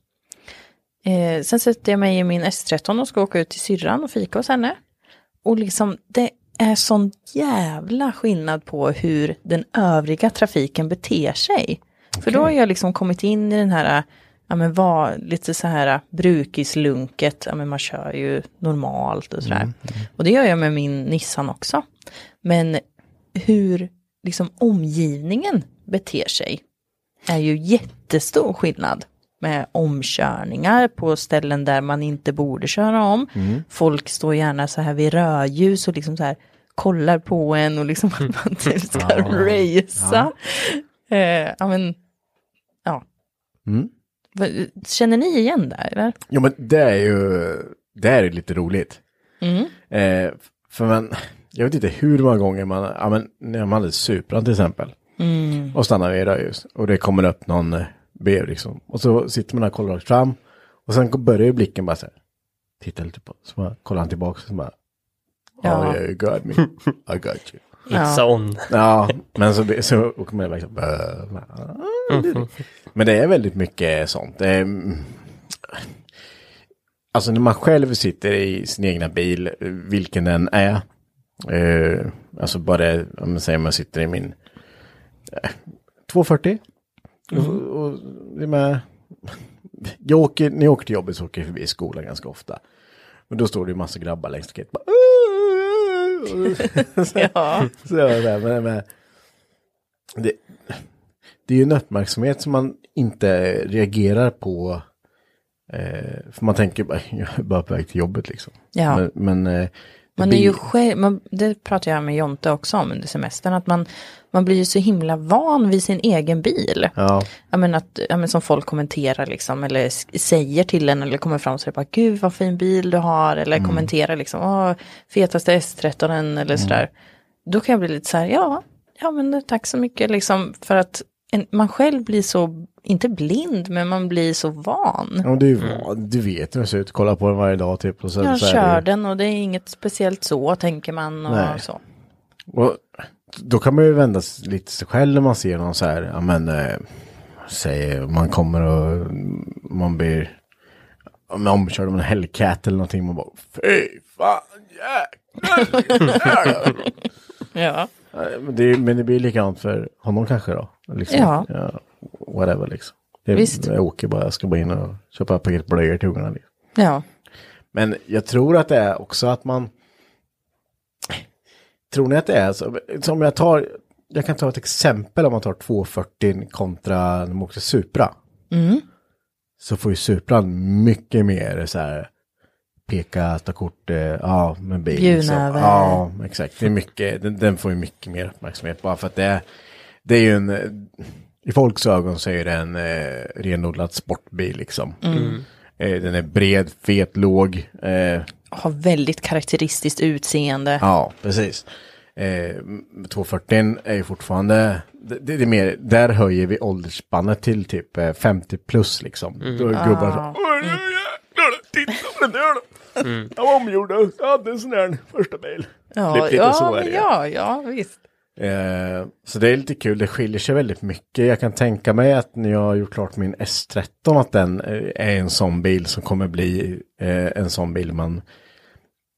Eh, sen sätter jag mig i min S13 och ska åka ut till syrran och fika hos henne. Och liksom, det är sån jävla skillnad på hur den övriga trafiken beter sig. För då har jag liksom kommit in i den här, ja men var lite så här brukislunket, ja men man kör ju normalt och sådär. Och det gör jag med min Nissan också. Men hur liksom omgivningen beter sig är ju jättestor skillnad med omkörningar på ställen där man inte borde köra om.
Mm.
Folk står gärna så här vid rödljus och liksom så här kollar på en och liksom att
(laughs)
man typ ska racea. Ja. Eh, ja, men, ja.
Mm.
Va- Känner ni igen det här, eller?
Jo men det är ju, det är ju lite roligt. Eh, för man, jag vet inte hur många gånger man, ja men när man hade Supran till exempel. Och stannar vid rödljus och det kommer upp någon eh, bil liksom. Och så sitter man där och kollar rakt fram. Och sen börjar ju blicken bara så här. Titta lite på, så bara kollar han tillbaka och så bara.
Ja.
Oh, yeah, you got me. I got you.
It's on.
Ja, men så, så åker man iväg så "Bö, ah, det är det." Men det är väldigt mycket sånt. Det är, mm, Alltså när man själv sitter i sin egna bil, eh, vilken den är. eh, alltså bara, om man säger man sitter i min eh, 240.
Mm.
Och, och det är med, (laughs) jag åker, när jag åker till jobbet så åker jag förbi skolan ganska ofta. Men då står det ju massa grabbar längs staketet. bara, "Åh!" (laughs) Så-
Ja.
så jag var där, men, men, det, det är ju en uppmärksamhet som man inte reagerar på. Eh, för man tänker bara, (laughs) jag är bara på väg till jobbet liksom.
Ja.
Men, men eh, det
Man är
blir-
ju själv, man, det pratar jag med Jonte också om under semestern, att man, man blir ju så himla van vid sin egen bil.
Ja,
Ja, men att, ja, men som folk kommenterar liksom, eller sk- säger till en eller kommer fram och säger bara, gud vad fin bil du har, eller
Mm.
kommenterar liksom, Åh, fetaste S13 -en", eller sådär. Då kan jag bli lite så här, ja, ja men tack så mycket liksom, för att en, man själv blir så, inte blind, men man blir så van.
ja, du, du vet hur den ser ut, kolla på den varje dag typ. Och sen,
Mm. Jag
så är
kör
det,
den och det är inget speciellt så, tänker man och
Nej.
så.
och, då kan man ju vända sig lite sig själv när man ser någon så här, ja men, eh, säg man kommer och man blir ja, men omkörd av en Hellcat eller någonting, man bara, fy fan,
(laughs)
jäklar.
Ja.
Nej, Men det, men det blir likadant för honom kanske då? Liksom.
Ja.
Whatever liksom. Det,
Visst.
Jag åker bara, jag ska bara in och köpa ett paket blöjor till ungarna. Liksom.
Ja.
Men jag tror att det är också att man... Tror ni att det är så? Som jag tar, jag kan ta ett exempel om man tar 240 kontra när man åkte Supra. Så får ju Supran mycket mer så här peka, ta kort, eh, ja men bil.
Bjudna
liksom.
över.
Ja, exakt. Det är mycket, den, den får ju mycket mer uppmärksamhet bara för att det är, det är ju en, eh, i folks ögon så är det en eh, renodlad sportbil liksom. Eh, den är bred, fet, låg. Eh,
Har väldigt karaktäristiskt utseende.
Ja, precis. Eh, 240 är ju fortfarande, det, det är mer, där höjer vi åldersspannet till typ eh, 50 plus liksom. Då är gubbar så, "Åh, nu jäklar, titta på den där då. Jag var omgjord, jag hade en sån där första bil.
Ja,
lite
ja,
så är
men
det.
ja, ja, visst.
Eh, så det är lite kul, det skiljer sig väldigt mycket. Jag kan tänka mig att när jag har gjort klart min S13 att den eh, är en sån bil som kommer bli eh, en sån bil man,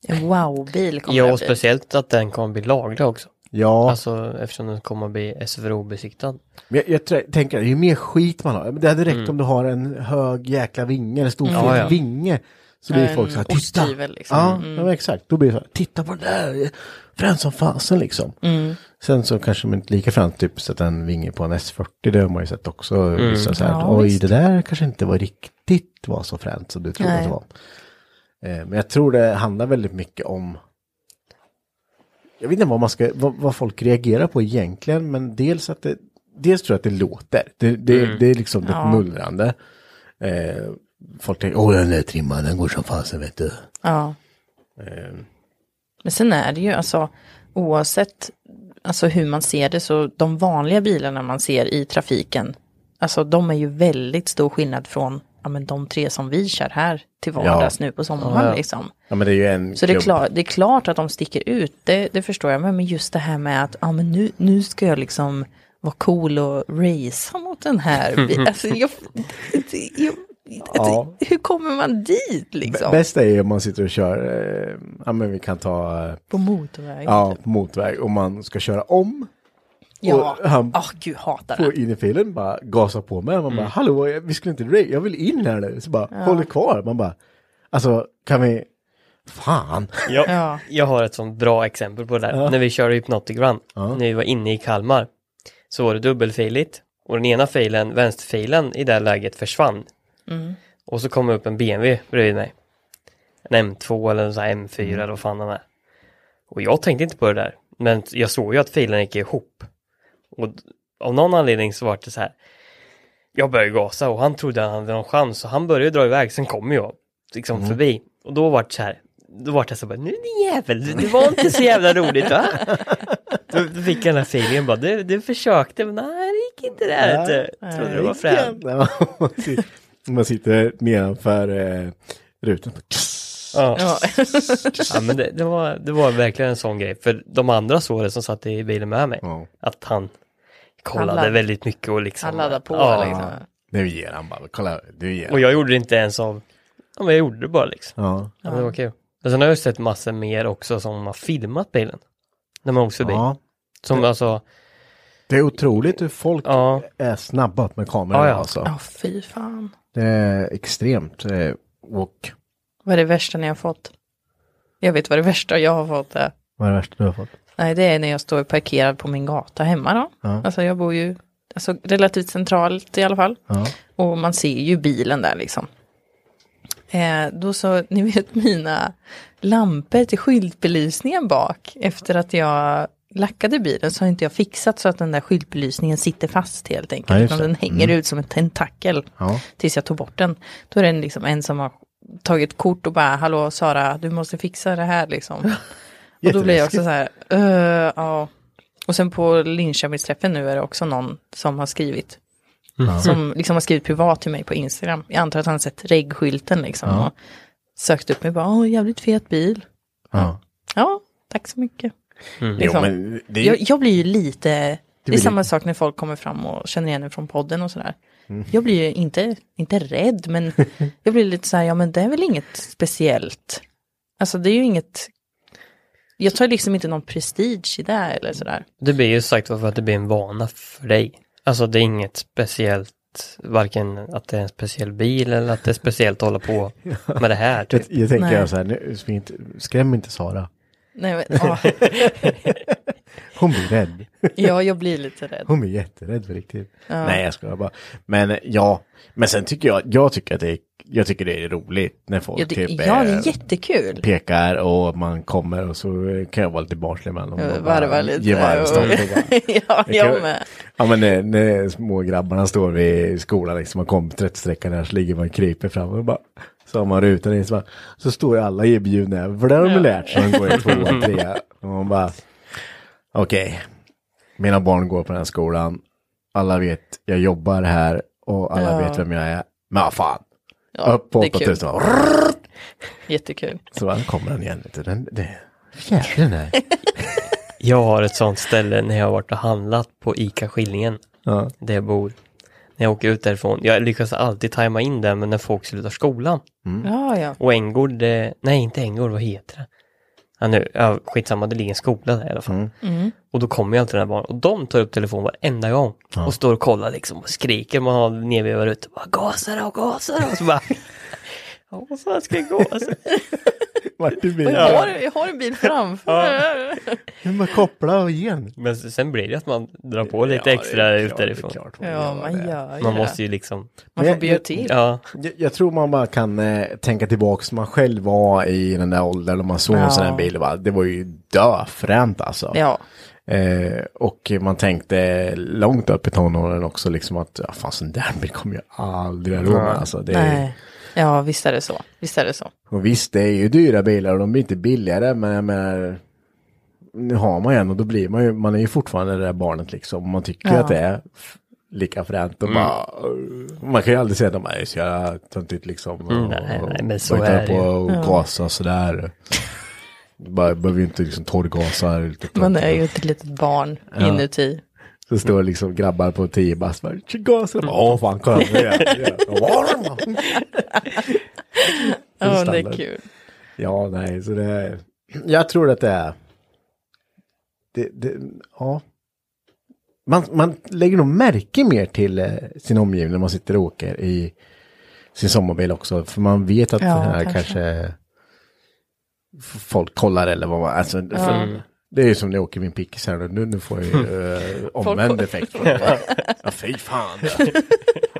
En wow-bil kommer
Ja,
det
och
bli.
speciellt att den kommer bli laglig också.
ja.
Alltså eftersom den kommer bli SVRO-besiktad.
Men jag, jag trä- tänker, ju mer skit man har, det hade räckt om du har en hög jäkla vinge, en stor
Mm. Ja,
fet
ja.
vinge. Så blir
En
folk så här, titta!
osthyvel, liksom.
Ja,
Mm.
ja, men exakt. Då blir det så här, titta på den där! Frän som fasen liksom.
Mm.
Sen så kanske de inte lika frän, typ sätta en vinge på en S40, det har man ju sett också.
Mm.
Vissa så här,
Ja,
Oj,
visst.
det där kanske inte var riktigt var så fränt som du trodde
Nej.
att det var. Eh, Men jag tror det handlar väldigt mycket om jag vet inte vad, man ska, vad, vad folk reagerar på egentligen, men dels att det, dels tror jag att det låter. Det, det, det är liksom ett mullrande. Eh, folk tänker, åh den är trimmad, den går som fasen vet du. Eh,
Ja. Men sen är det ju alltså oavsett alltså hur man ser det så de vanliga bilarna man ser i trafiken, alltså de är ju väldigt stor skillnad från ja, men de tre som vi kör här till vardags nu på sommaren liksom.
Ja men det är ju en
Så det är,
klubb.
klart, det är klart att de sticker ut, det, det förstår jag. Men men just det här med att ja, men nu, nu ska jag liksom vara cool och racea mot den här.
(laughs)
bi- Alltså, jag, det- jag,
Ja.
alltså, hur kommer man dit
B-
liksom?
Bästa är ju om man sitter och kör, eh, ja men vi kan ta, eh,
På motorväg.
ja, på motorväg och man ska köra om.
Ja,
Och han-
ah gud hatar
På
det.
in i filen bara gasar på mig. Man bara, hallå, jag- vi skulle inte, ra- jag vill in här nu. Så bara, håller kvar. Man bara, alltså kan vi, Fan!
Jag,
Ja.
jag har ett sånt bra exempel på det där. När vi körde Hypnotic Run, när vi var inne i Kalmar, så var det dubbelfiligt och den ena filen, vänsterfilen i det här läget försvann. Och så kom det upp en BMW bredvid mig. En M2 eller en sån här M4 eller vad fan de är. Och jag tänkte inte på det där, men jag såg ju att filen gick ihop. Och d- av någon anledning så var det så här. Jag började gasa och han trodde han hade någon chans så han började dra iväg, sen kom jag liksom förbi. Och då var det så här, då var det så här, bara, nu din jävel, det var inte så jävla roligt va? Då då fick jag den här feelingen bara, du, du försökte men nej det gick inte där vet du. Trodde du var främ.
(laughs) Ja, man sit- Man sitter nedanför eh, rutan.
Ja.
Ja.
Ja, men det, det, var, det var verkligen en sån grej, för de andra såg det som satt i bilen med mig,
Ja.
att han kollade
Han ladd-
väldigt mycket och liksom.
(laughs) Han laddar på
Ja.
liksom.
Nu ger han bara, kolla, du ger
Och
han.
jag gjorde det inte ens av, ja men jag gjorde det bara liksom.
Ja.
Ja, men det var kul. Men sen har jag sett massor mer också som har filmat bilen. När man åkt förbi.
ja.
Som alltså,
Det är otroligt hur folk
ja,
är snabba med kameran
Ja, ja.
alltså.
Ja, fy fan.
Det är extremt. eh, Och
Vad är det värsta ni har fått? Jag vet vad det värsta jag har fått är.
vad är det värsta du har fått?
Nej, det är när jag står parkerad på min gata hemma då. Alltså jag bor ju alltså, relativt centralt i alla fall. Och man ser ju bilen där liksom. Eh, då så, ni vet mina lampor till skyltbelysningen bak. Efter att jag lackade bilen så har inte jag fixat så att den där skyltbelysningen sitter fast helt
Ja,
enkelt.
just
utan
det.
den hänger ut som en tentakel
Ja.
tills jag tog bort den. Då är det en liksom en som har tagit kort och bara, hallå Sara, du måste fixa det här liksom. Och då blir jag också så här, "Eh, ja. Och sen på Linköpingsträffen nu är det också någon som har skrivit. Som liksom har skrivit privat till mig på Instagram. Jag antar att han har sett reggskylten liksom. Och sökt upp mig och bara, åh jävligt fet bil.
Ja.
Ja, tack så mycket. Liksom.
men det är ju-
jag, jag blir ju lite, det är
blir
samma sak när folk kommer fram och känner igen en från podden och sådär. Jag blir ju inte, inte rädd,
(laughs)
men jag blir lite så här, ja men det är väl inget speciellt. Alltså det är ju inget, jag tar liksom inte någon prestige i det här eller sådär.
det blir ju sagt för att det blir en vana för dig. Alltså det är inget speciellt, varken att det är en speciell bil eller att det är speciellt att
(laughs)
hålla på med det här.
Jag,
Typ.
jag tänker
Nej.
jag så här, nu, ska vi inte, skräm inte Sara.
Nej, men,
(laughs)
ja,
Hon blir rädd.
ja, jag blir lite rädd.
Hon blir jätterädd på riktigt. Nej, jag skojar bara. Men ja, men sen tycker jag, jag tycker att det är, jag tycker det är roligt när folk
Ja, det,
typ
ja, det
eh,
är jättekul. (laughs)
pekar och man kommer och så eh, kan jag vara lite barnslig ibland. och bara
Varva lite.
Ge varvstånd och bara.
ja, jag med.
Ja men när, när små grabbarna står vid skolan liksom och kommer 30-sträckan där så ligger man och kryper fram och bara så har man rutan i så, bara, så står ju alla erbjudna för det har de ju lärt sig när de
(laughs)
går i tvåan, trea. Och man bara okej, mina barn går på den här skolan, alla vet jag jobbar här och alla vet vem jag är. Men vad fan,
Ja,
upp på
det är kul.
8000 och
Jättekul.
så här kommer den igen. vet du. Den, det,
(laughs)
fjärden här.
Jag har ett sånt ställe när jag har varit och handlat på ICA Skillingen,
Ja.
där jag bor. När jag åker ut därifrån, jag lyckas alltid tajma in det, men när folk slutar skolan.
Mm.
Ja, ja.
Och Änggård, eh, nej inte Änggård, vad heter det? Ja, nu, ja, skitsamma, det ligger en skola där i alla fall.
Mm.
Och då kommer ju alltid den här barnen och de tar upp telefonen varenda gång och står och kollar liksom och skriker. Man har nedvevar ut och bara gasar och gasar och (laughs) så bara Ja, vad fan ska jag
(laughs)
gasa?
Vart du vill.
Jag har, jag har en bil framför.
Men koppla och ge den.
Men sen blir det att man drar på lite extra ut därifrån.
Ja, man gör ju
Man
det.
måste ju liksom,
Man
Men
får
jag-
bjuda
jag-
till.
ja,
Jag, jag tror man bara kan eh, tänka tillbaka man själv var i den där åldern och man såg en sån här
Ja.
bil. och bara, Det var ju döfränt alltså.
Ja,
Eh, och man tänkte långt upp i tonåren också liksom att ja, fan sån där bil kommer jag aldrig ha råd med. Alltså, det är,
nej. Ja, visst är det så. Visst är det så.
och visst det är ju dyra bilar och de blir inte billigare men jag menar nu har man ju en och då blir man ju, man är ju fortfarande det där barnet liksom. Och Man tycker ju att det är f- lika fränt och bara, man kan ju aldrig säga att de är så jävla töntigt liksom. och-
Mm, nej, nej, men
och
så
bara
är
hitta på och gasa och sådär. Bara, behöver ju inte liksom torrgasa. eller lite
Man
töntigt.
är ju ett litet barn inuti.
Så står det liksom grabbar på 10 bast bara, "Tjö, gasa. Bara, Åh fan, kolla. nu är jag- nu
(laughs)
är jag varm."
Ja, det är
standard.
kul.
Ja, nej, så det är... Jag tror att det är... Det, det, ja. Man, man lägger nog märke mer till eh, sin omgivning när man sitter och åker i sin sommarbil också. För man vet att
Ja,
den här
kanske.
kanske f- folk kollar eller vad man, alltså, för-
Mm.
det är ju som när jag åker min pickis här nu, nu, nu får jag ju eh, omvänd effekt. på det. Ja, fy fan.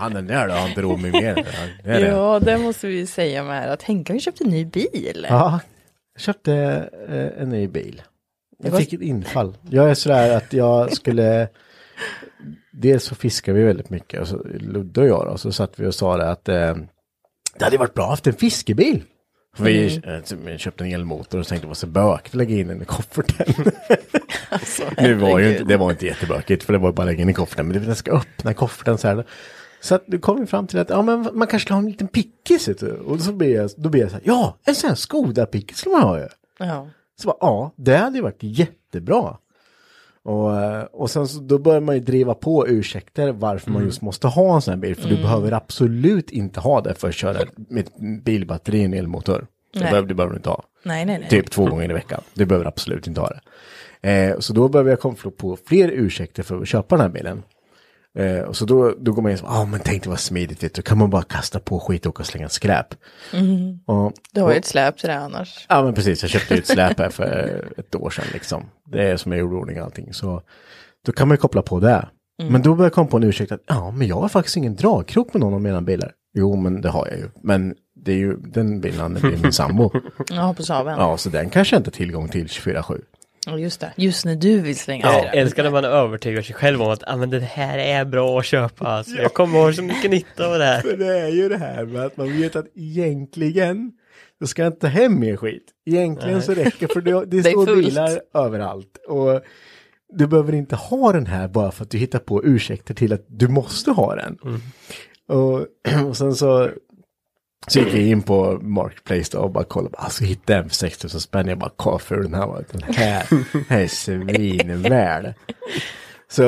Han är där då, han drog mig mer. Ja, det är det.
Ja, det måste vi säga med här, att Henke har ju köpt en ny bil.
Ja, jag köpte eh, en ny bil. Jag
var-
fick ett infall. Jag är sådär att jag skulle... Dels så fiskar vi väldigt mycket, och så, Ludde och jag då, så satt vi och sa det att eh, det hade varit bra att ha haft en fiskebil. För Vi eh, köpte en elmotor och tänkte vad så bökigt att lägga in den i kofferten. Nu var ju inte, (laughs) det var inte jättebökigt för det var bara att lägga in i kofferten. Men den ska öppna kofferten så här. Så att du kom vi fram till att ja, men man kanske ska ha en liten pickis. vet du. Och så blir jag, då blir jag så här, ja, en sån här Skoda-pickis skulle man ha ju.
Ja.
Så bara, ja, det hade ju varit jättebra. Och, eh, och sen så då börjar man ju driva på ursäkter varför
Mm.
man just måste ha en sån här bil. För du behöver absolut inte ha det för att köra med ett bilbatteri i en elmotor. Det
Nej. Mm.
behöver, det behöver du inte ha.
Nej, nej, nej.
Typ två gånger i veckan. Du behöver absolut inte ha det. Eh, så då behöver jag komma på fler ursäkter för att köpa den här bilen. Eh, och så då, då går man in och ah, men tänk det var smidigt, vet du. kan man bara kasta på skit och åka och slänga skräp. Och,
Du har ju ett släp till Mm. det annars.
Ja men precis, jag köpte ju ett släp här för ett år sedan liksom. Det är som jag gjorde i ordning och allting. Så då kan man ju koppla på det. Men då började jag komma på en ursäkt att ja men jag har faktiskt ingen dragkrok med någon av mina bilar. Jo men det har jag ju. Men det är ju den bilen, det är min sambo.
Ja, på Saaben.
Ja så den kanske jag inte har tillgång till 24-7.
Ja, Just det. Just när du vill slänga
Jag
skräp.
älskar när man övertygar sig själv om att ah, men det här är bra att köpa. Alltså, Jag kommer ha så mycket nytta av det här.
För det är ju det här med att man vet att egentligen då ska jag inte ta hem mer skit. Egentligen så räcker för det, det
(laughs) Det är
står
fullt.
bilar överallt. Och du behöver inte ha den här bara för att du hittar på ursäkter till att du måste ha den.
Mm.
Och, och (clears throat) sen så, så gick jag in på Marketplace då och bara kollade. Alltså hittade jag en för 6 000 spänn. Jag bara, kolla för den här var. Den här, den här är svinvärd. Så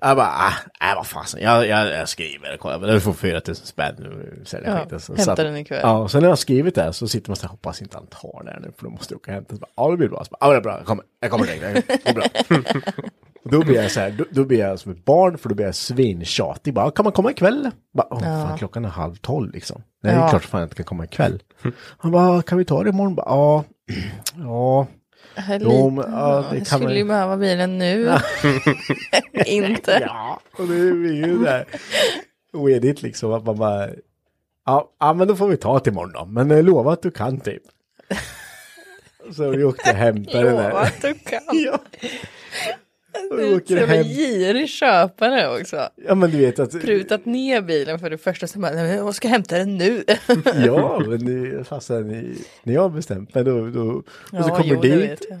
jag bara, ah, nej vad fasen, jag, jag, jag skriver och kollar, men du får 4 000 spänn nu. säljer jag
Ja,
skiten. Så
hämta
satt-
den ikväll.
Ja, och sen när jag har skrivit det här så sitter man så här, hoppas inte han tar det här nu för då måste jag åka och hämta. Så bara, Ja, det blir bra. Så bara, Ja, det är bra, jag kommer, jag kommer direkt, det är bra. Och då blir jag så här, då, då blir jag som ett barn för då blir jag svintjatig. Bara, kan man komma ikväll? Bara, åh, fan, klockan är halv tolv liksom. Nej, det är
Ja.
klart fan jag inte kan komma ikväll. Han bara, "Ah, kan vi ta det imorgon? Bara, Ja, (clears throat) ja.
Här
Jo, men,
lite.
ja, det kan
jag skulle
man-
ju behöva bilen nu. (laughs) Inte.
Ja, och det är ju där oedigt liksom att man bara, ja, ja men då får vi ta till imorgon då, men eh, lova att du kan typ. (laughs) Så vi åkte och hämtade den
Lova
där.
att du kan.
(laughs) Ja. Och vi
Du
åker
är en
hem.
girig köpare också.
Ja men du vet att,
Prutat ner bilen för det första, så bara, "Nej, men jag ska hämta den nu. (laughs)
ja men ni- fasen, ni- ni har bestämt men då, då och så
Ja,
kommer
jo, det
dit
vet jag.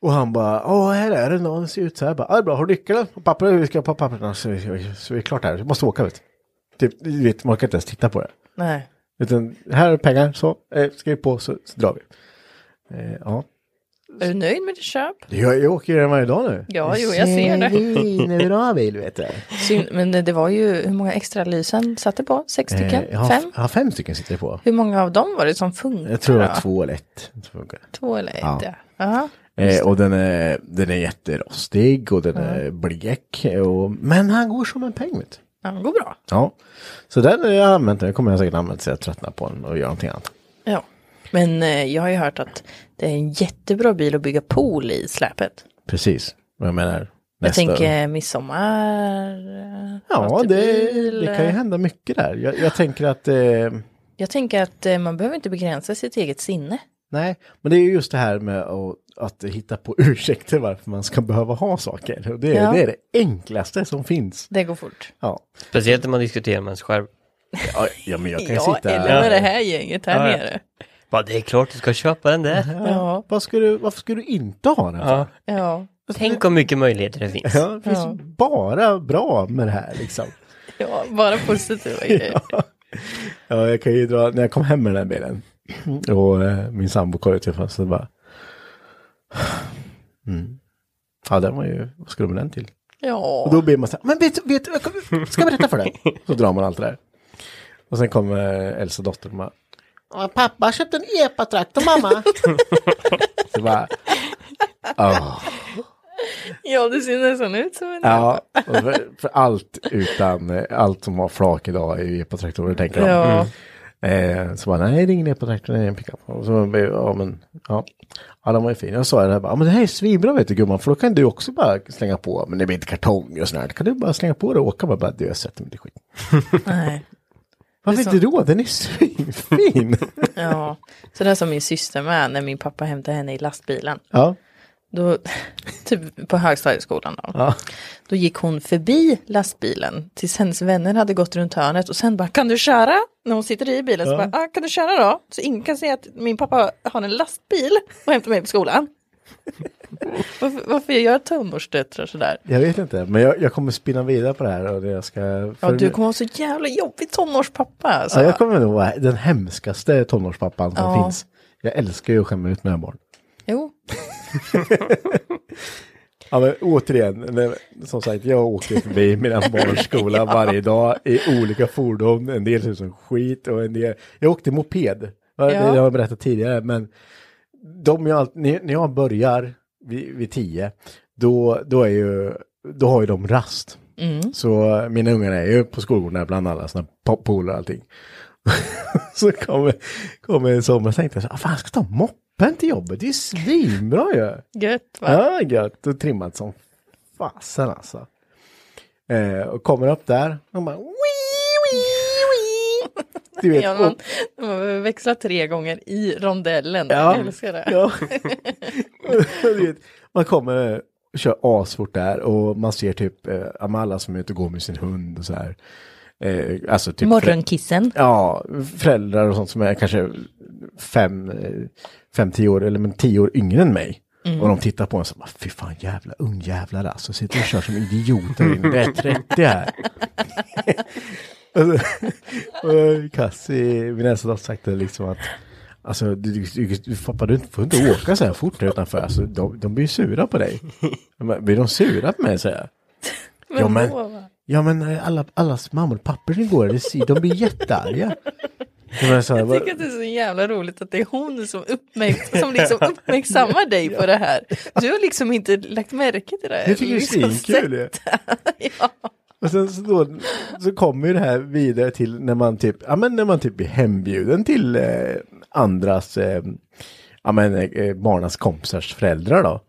Och han bara, ja här är den och den ser ut så här. Jag Bara, ja, det är bra, har du nyckeln? Och papper, vi ska på papperna så, så, så vi är klart här, vi måste åka vet du. Typ, du vet, man kan inte ens titta på det.
Nej.
Utan här är pengar, så eh, skriv på så, så drar vi. Eh, ja.
Är du nöjd med ditt köp?
jag, jag åker ju den varje dag nu.
Ja, jo, jag ser det.
Svinbra bil vet du.
Synd, men det var ju, hur många extra lysen satt det på? Sex stycken?
Eh, jag har,
Fem?
Ja, fem stycken sitter det på.
Hur många av dem var det som funkade?
Jag tror det
då?
var två eller ett. som funkar.
Två eller ett,
Ja.
ja. Jaha.
Eh, och den är, den är jätterostig och den är blek. Och, men han går som en peng vet du.
Ja, det går bra.
Ja. Så den har jag använt, den kommer jag säkert använda tills jag tröttnar på den och gör någonting annat.
Ja. Men eh, jag har ju hört att det är en jättebra bil att bygga pool i släpet.
Precis, vad jag menar.
Jag
nästa-
tänker eh, midsommar. eh,
Ja, det,
racerbil,
det kan ju
eh.
hända mycket där. Jag, jag tänker att eh,
Jag tänker att eh, man behöver inte begränsa sitt eget sinne.
Nej, men det är ju just det här med att, att hitta på (laughs) ursäkter varför man ska behöva ha saker. Och det, är-
Ja.
det är det enklaste som finns.
Det går fort.
Ja,
(laughs) Speciellt när man diskuterar med sig själv.
ja, ja men jag kan ju
Ja,
sitta...
eller med det här gänget här
Ja, ja.
nere.
Bara, det är klart du ska köpa den där.
Ja,
Vad ska du, varför ska du inte ha den? för?
Ja.
ja,
(laughs) Tänk hur mycket möjligheter det finns.
Ja, det finns ju bara bra med det här liksom.
ja, bara
(laughs)
positiva grejer.
Ja, jag kan ju dra, när jag kom hem med den här bilen och eh, min sambo kollade till fönstret och bara... Mm. Ja, den var ju, vad skulle man den till? Och
Ja,
då blir man så här, men vet, vet jag kom- ska jag berätta för dig? Så drar man allt det där. Och sen kommer Elsa dottern och bara, "Ja, pappa köpte en epatraktor mamma. så bara, "Åh."
ja, det ser nästan ut som en...
ja, och för, för allt utan, eh, allt som har flak idag är ju epatraktorer tänker de.
Ja.
Eh, så bara, nej ring ner på traktorn, det är en pickup. Och så, bara, ja men, ja. Ja, de var ju fina. Jag sa det här, bara, ja, men det här är svinbra vet du gumman, för då kan du också bara slänga på, men det blir inte kartong och sånt här. Då kan du bara slänga på det och åka bara, bara du jag sätter mig i skit.
Nej.
Varför
så-
inte då? Den
(laughs)
är svinfin.
Ja. Så det är som min syster med när min pappa hämtade henne i lastbilen.
ja,
Då, (laughs) typ på högstadieskolan då.
ja.
Då gick hon förbi lastbilen tills hennes vänner hade gått runt hörnet och sen bara kan du köra? När hon sitter i bilen så bara ah, kan du köra då? Så ingen kan se att min pappa har en lastbil och hämtar mig på
(laughs)
skolan. varför, varför gör tonårsdöttrar sådär?
Jag vet inte, men jag, jag kommer spinna vidare på det här och det jag ska...
Ja, du kommer vara så jävla jobbig tonårspappa. Alltså.
ja, jag kommer nog vara den hemskaste tonårspappan som
Ja.
finns. Jag älskar ju att skämma ut mina barn.
Jo,
Ja, men återigen, nej, som sagt, jag åker förbi mina barns skola varje dag i olika fordon. En del ser ut som skit och en del... Jag åkte moped, ja. det
Ja.
har jag berättat tidigare, men de jag, allt- när när jag börjar vid, vid tio, då, då, är ju, då har ju de rast. Så mina ungar är ju på skolgården där bland alla såna po- polare och allting. (laughs) så kommer, kommer en sommar och tänkte jag så, ah, fan ska jag ta moppen till jobbet, det är ju svinbra ju.
gött va?
Ja, gött och trimmat som fasen alltså. Eh, och kommer upp där och bara... "Wii, wii, wii." Du vet,
Ja,
och,
man, (laughs) man växlar tre gånger i rondellen.
Ja.
Jag älskar det. (laughs)
Ja. (laughs) du vet, man kommer och kör asfort där och man ser typ eh, ja, men alla som är ute och går med sin hund och så här. Eh, alltså typ
Morgonkissen.
Ja, föräldrar och sånt som är kanske fem, eh, fem tio år eller men tio år yngre än mig.
Mm.
Och de tittar på en som bara, fy fan jävla ungjävlar alltså, sitter och kör som idioter in, det är 30
(laughs)
här. alltså, och Kassi, min äldsta dotter, sagt det liksom att, alltså du, du, du, du, pappa, du får inte åka så här fort här utanför, alltså de, de blir ju sura på dig. Jag bara, Blir de sura på mig, säger
(laughs)
jag.
Men
Ja men,
då, va?
ja, men eh, alla, allas mammor och pappor som går, det ser- de blir jättearga. Jag, menar, så här,
Jag
vad-
tycker att det är så jävla roligt att det är hon som, uppmärk- som (laughs) liksom uppmärksammar dig på det här. Du har liksom inte lagt märke till det. här,
jag tycker det
liksom
är
(laughs)
svinkul ju. Och sen så, då, så kommer ju det här vidare till när man typ, ja men när man typ blir hembjuden till eh, andras, eh, ja men eh, barnas kompisars föräldrar då.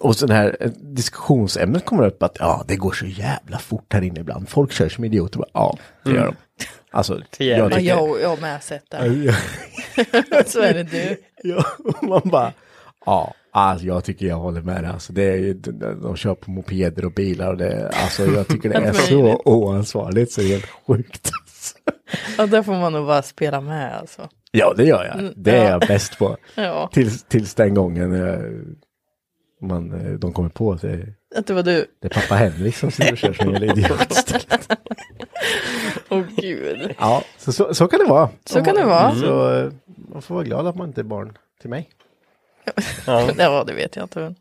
Och så det här eh, diskussionsämnet kommer upp att ja, det går så jävla fort här inne ibland. Folk kör som idioter. Bara, ja, det gör de. (laughs) Alltså, jag
jävligt.
Ja,
tycker,
jag, jag har med sett det.
jag,
Så är det du.
Ja, (laughs) och man bara, ja, alltså jag tycker jag håller med dig. Alltså, det är ju, de, de kör på mopeder och bilar och det, alltså jag tycker det är så oansvarigt så det är helt sjukt.
Ja, där får man nog bara spela med alltså.
Ja, det gör jag. Det är jag bäst på.
Ja,
Tills, tills den gången eh, man, eh, de kommer på att det,
att det var du.
det är pappa Henrik som sitter och kör som en jävla idiot istället.
Åh gud.
Ja, så, så, så kan det vara.
Så kan det vara.
Så eh, man får vara glad att man inte är barn till mig.
Ja, det vet jag inte. men-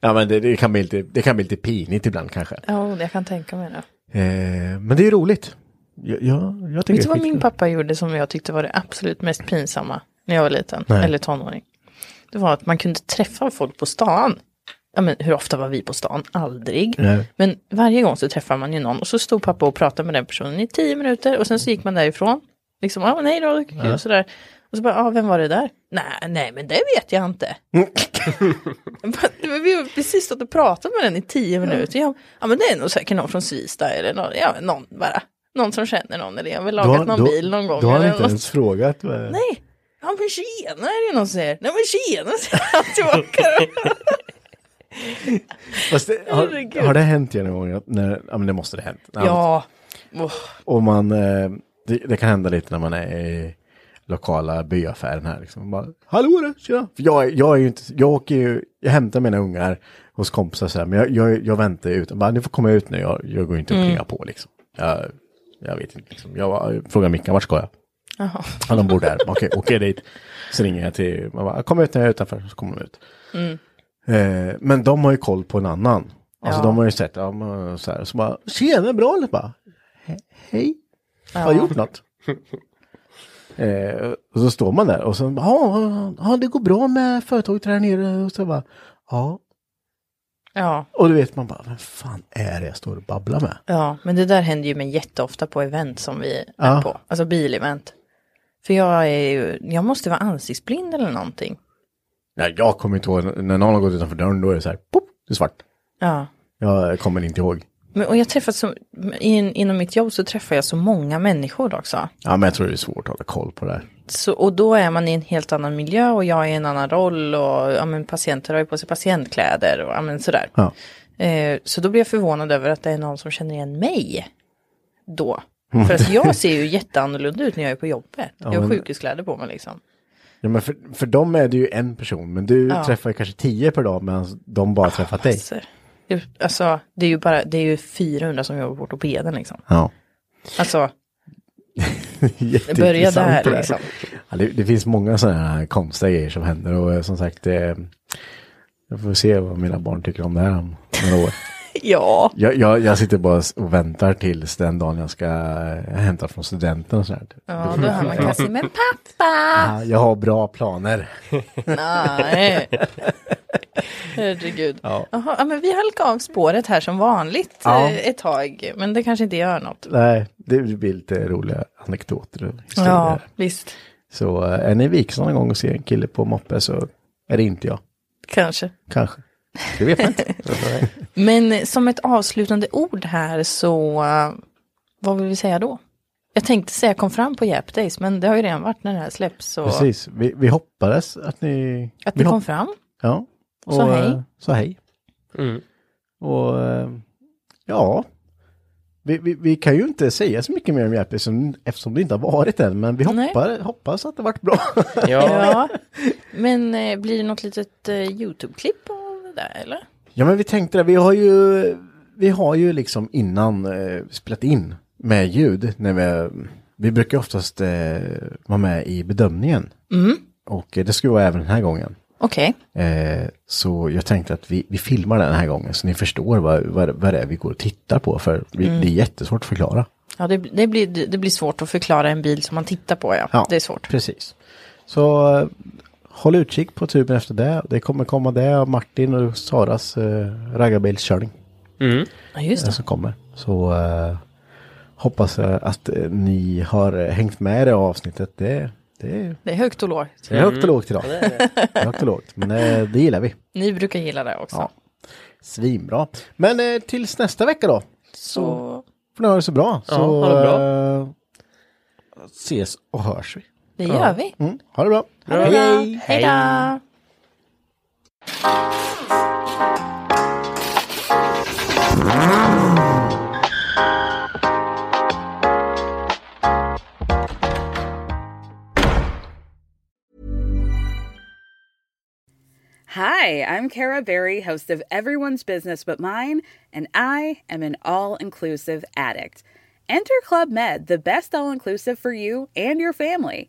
Ja, men det, det, kan bli lite, det kan bli lite pinigt ibland kanske.
Ja, jag kan tänka mig det.
Eh, men det är ju roligt. Ja, ja, jag tycker
Vet du
det är
vad min
skitkul.
pappa gjorde som jag tyckte var det absolut mest pinsamma när jag var liten,
Nej.
eller tonåring? Det var att man kunde träffa folk på stan. Ja, men hur ofta var vi på stan? Aldrig.
Nej.
Men varje gång så träffar man ju någon och så stod pappa och pratade med den personen i tio minuter och sen så gick man därifrån. Liksom, ja men hej då, kul, sådär. Och så bara, ja vem var det där? Nej, nej men det vet jag
(laughs)
inte. Men vi har precis stått och pratat med den i tio minuter. Ja, ja men det är nog säkert någon från Svista eller någon, ja, någon bara. Någon som känner någon eller jag har väl
Då har-
lagat någon
då-
bil någon gång.
Då har han
eller
inte
något.
ens frågat. eh, vad-
Nej, ja men tjena är det någon som säger. Nej men tjena säger han
(laughs)
tillbaka.
Fast det, har,
Herregud.
har det hänt er någon gång? att När, ja, men det måste det ha hänt. När-
ja, Åh,
Och man, eh, det, det kan hända lite när man är i lokala byaffären här. Liksom. Man Bara, Hallå där, tjena! För jag, är- jag, är ju inte, jag åker ju, jag hämtar mina ungar hos kompisar så här, men jag, jag, jag väntar ut. Jag Bara, ni får komma ut nu, jag, jag går inte
Mm.
och plingar på liksom. Jag, jag vet inte, liksom. jag, jag frågar Mickan, vart ska jag?
Jaha.
Ja, de bor där. Okej, åker jag dit. Så ringer jag till, man bara, kom ut när jag är utanför, så kommer de ut.
Mm.
Eh, men de har ju koll på en annan. Alltså
Ja.
de har ju sett, ja, men, så här, så bara, tjena, bra eller? Bara, "He- hej, har gjort något? eh, och så står man där och så, bara, ja, ja, ja, det går bra med företaget här nere. Och så bara, ja.
Ja,
Och du vet man bara, vem fan är det jag står och babblar med?
ja, men det där händer ju mig jätteofta på event som vi
Ja.
är på. Alltså bilevent. För jag är ju, jag måste vara ansiktsblind eller någonting.
Nej, jag kommer inte ihåg, när någon har gått utanför dörren då är det så här, pop, det är svart.
Ja.
Jag kommer inte ihåg.
Men, och jag träffar så, in, inom mitt jobb så träffar jag så många människor också.
Ja, men jag tror det är svårt att hålla koll på det här.
Så, och då är man i en helt annan miljö och jag är i en annan roll och ja, men patienter har ju på sig patientkläder och ja, men sådär.
Ja.
Eh, så då blir jag förvånad över att det är någon som känner igen mig då. För att jag ser ju jätteannorlunda ut när jag är på
(laughs)
jobbet. jag har
Mm. men-
sjukhuskläder på mig liksom.
Ja, men för, för dem är det ju en person, men du träffar ju kanske tio per dag medan de bara träffat dig.
Så, det- alltså, det är ju bara, det är ju 400 som jobbar på ortopeden liksom.
Ja.
Alltså,
Jätteintressant
börja
det
där
där.
liksom.
Ja, det, det finns många sådana här konstiga grejer som händer och eh, som sagt, eh, jag får se vad mina barn tycker om det här om några år.
Ja,
Jag, jag, jag sitter bara och väntar tills den dagen jag ska eh, hämta från studenten och typ. sådär.
ja då hör man kanske, men pappa!
Ja, jag har bra planer.
Nej. Herregud. Jaha, Ja. men vi halkade av spåret här som vanligt
Ja.
eh, ett tag. Men det kanske inte gör något.
Nej, det blir lite roliga anekdoter och historier.
Ja, visst.
Så eh, är ni i Viksand någon gång och ser en kille på moppe så är det inte jag.
Kanske.
Kanske. Det vet man inte.
Men eh, som ett avslutande ord här så, eh, vad vill vi säga då? Jag tänkte säga kom fram på Jap Days, men det har ju redan varit när det här släpps. Så
Precis, vi, vi hoppades att ni...
att
vi
det kom
hopp-
fram.
Ja.
Och sa hej.
eh, Sa hej.
Mm.
Och eh, ja, vi, vi, vi kan ju inte säga så mycket mer om Jeppe som- eftersom det inte har varit än, men vi
Nej.
hoppar, hoppas att det varit bra. (laughs)
Ja,
Ja. Men eh, blir det något litet eh, YouTube-klipp av det där eller?
Ja men vi tänkte det, vi har ju, vi har ju liksom innan eh, spelat in med ljud. När vi, vi brukar oftast eh, vara med i bedömningen.
Mm.
Och eh, det skulle vara även den här gången.
Okej.
Eh, så jag tänkte att vi, vi filmar den här gången så ni förstår vad, vad, vad det är vi går och tittar på. För vi, det är jättesvårt att förklara.
Ja, det, det, blir, det, det blir svårt att förklara en bil som man tittar på ja. Det är svårt.
Precis. Så eh, håll utkik på tuben efter det. Det kommer komma det av Martin och Saras eh, raggarbilskörning.
Ja, just det.
som kommer. Så eh, hoppas jag att eh, ni har eh, hängt med i det här avsnittet. Det, det, är-
Det är högt och lågt.
det är högt och lågt idag. Mm. Det är högt och lågt, men eh, det gillar vi.
Ni brukar gilla det också.
Ja. Svinbra. Men eh, tills nästa vecka då.
Så
Får ni ha det så bra. Så,
ha det bra.
eh, ses och hörs vi.
det gör vi.
Mm, ha det bra.
Hej! Hej då!
Hi, I'm Kara Berry, host of Everyone's Business But Mine, and I am an all inclusive addict. Enter Club Med, the best all inclusive for you and your family.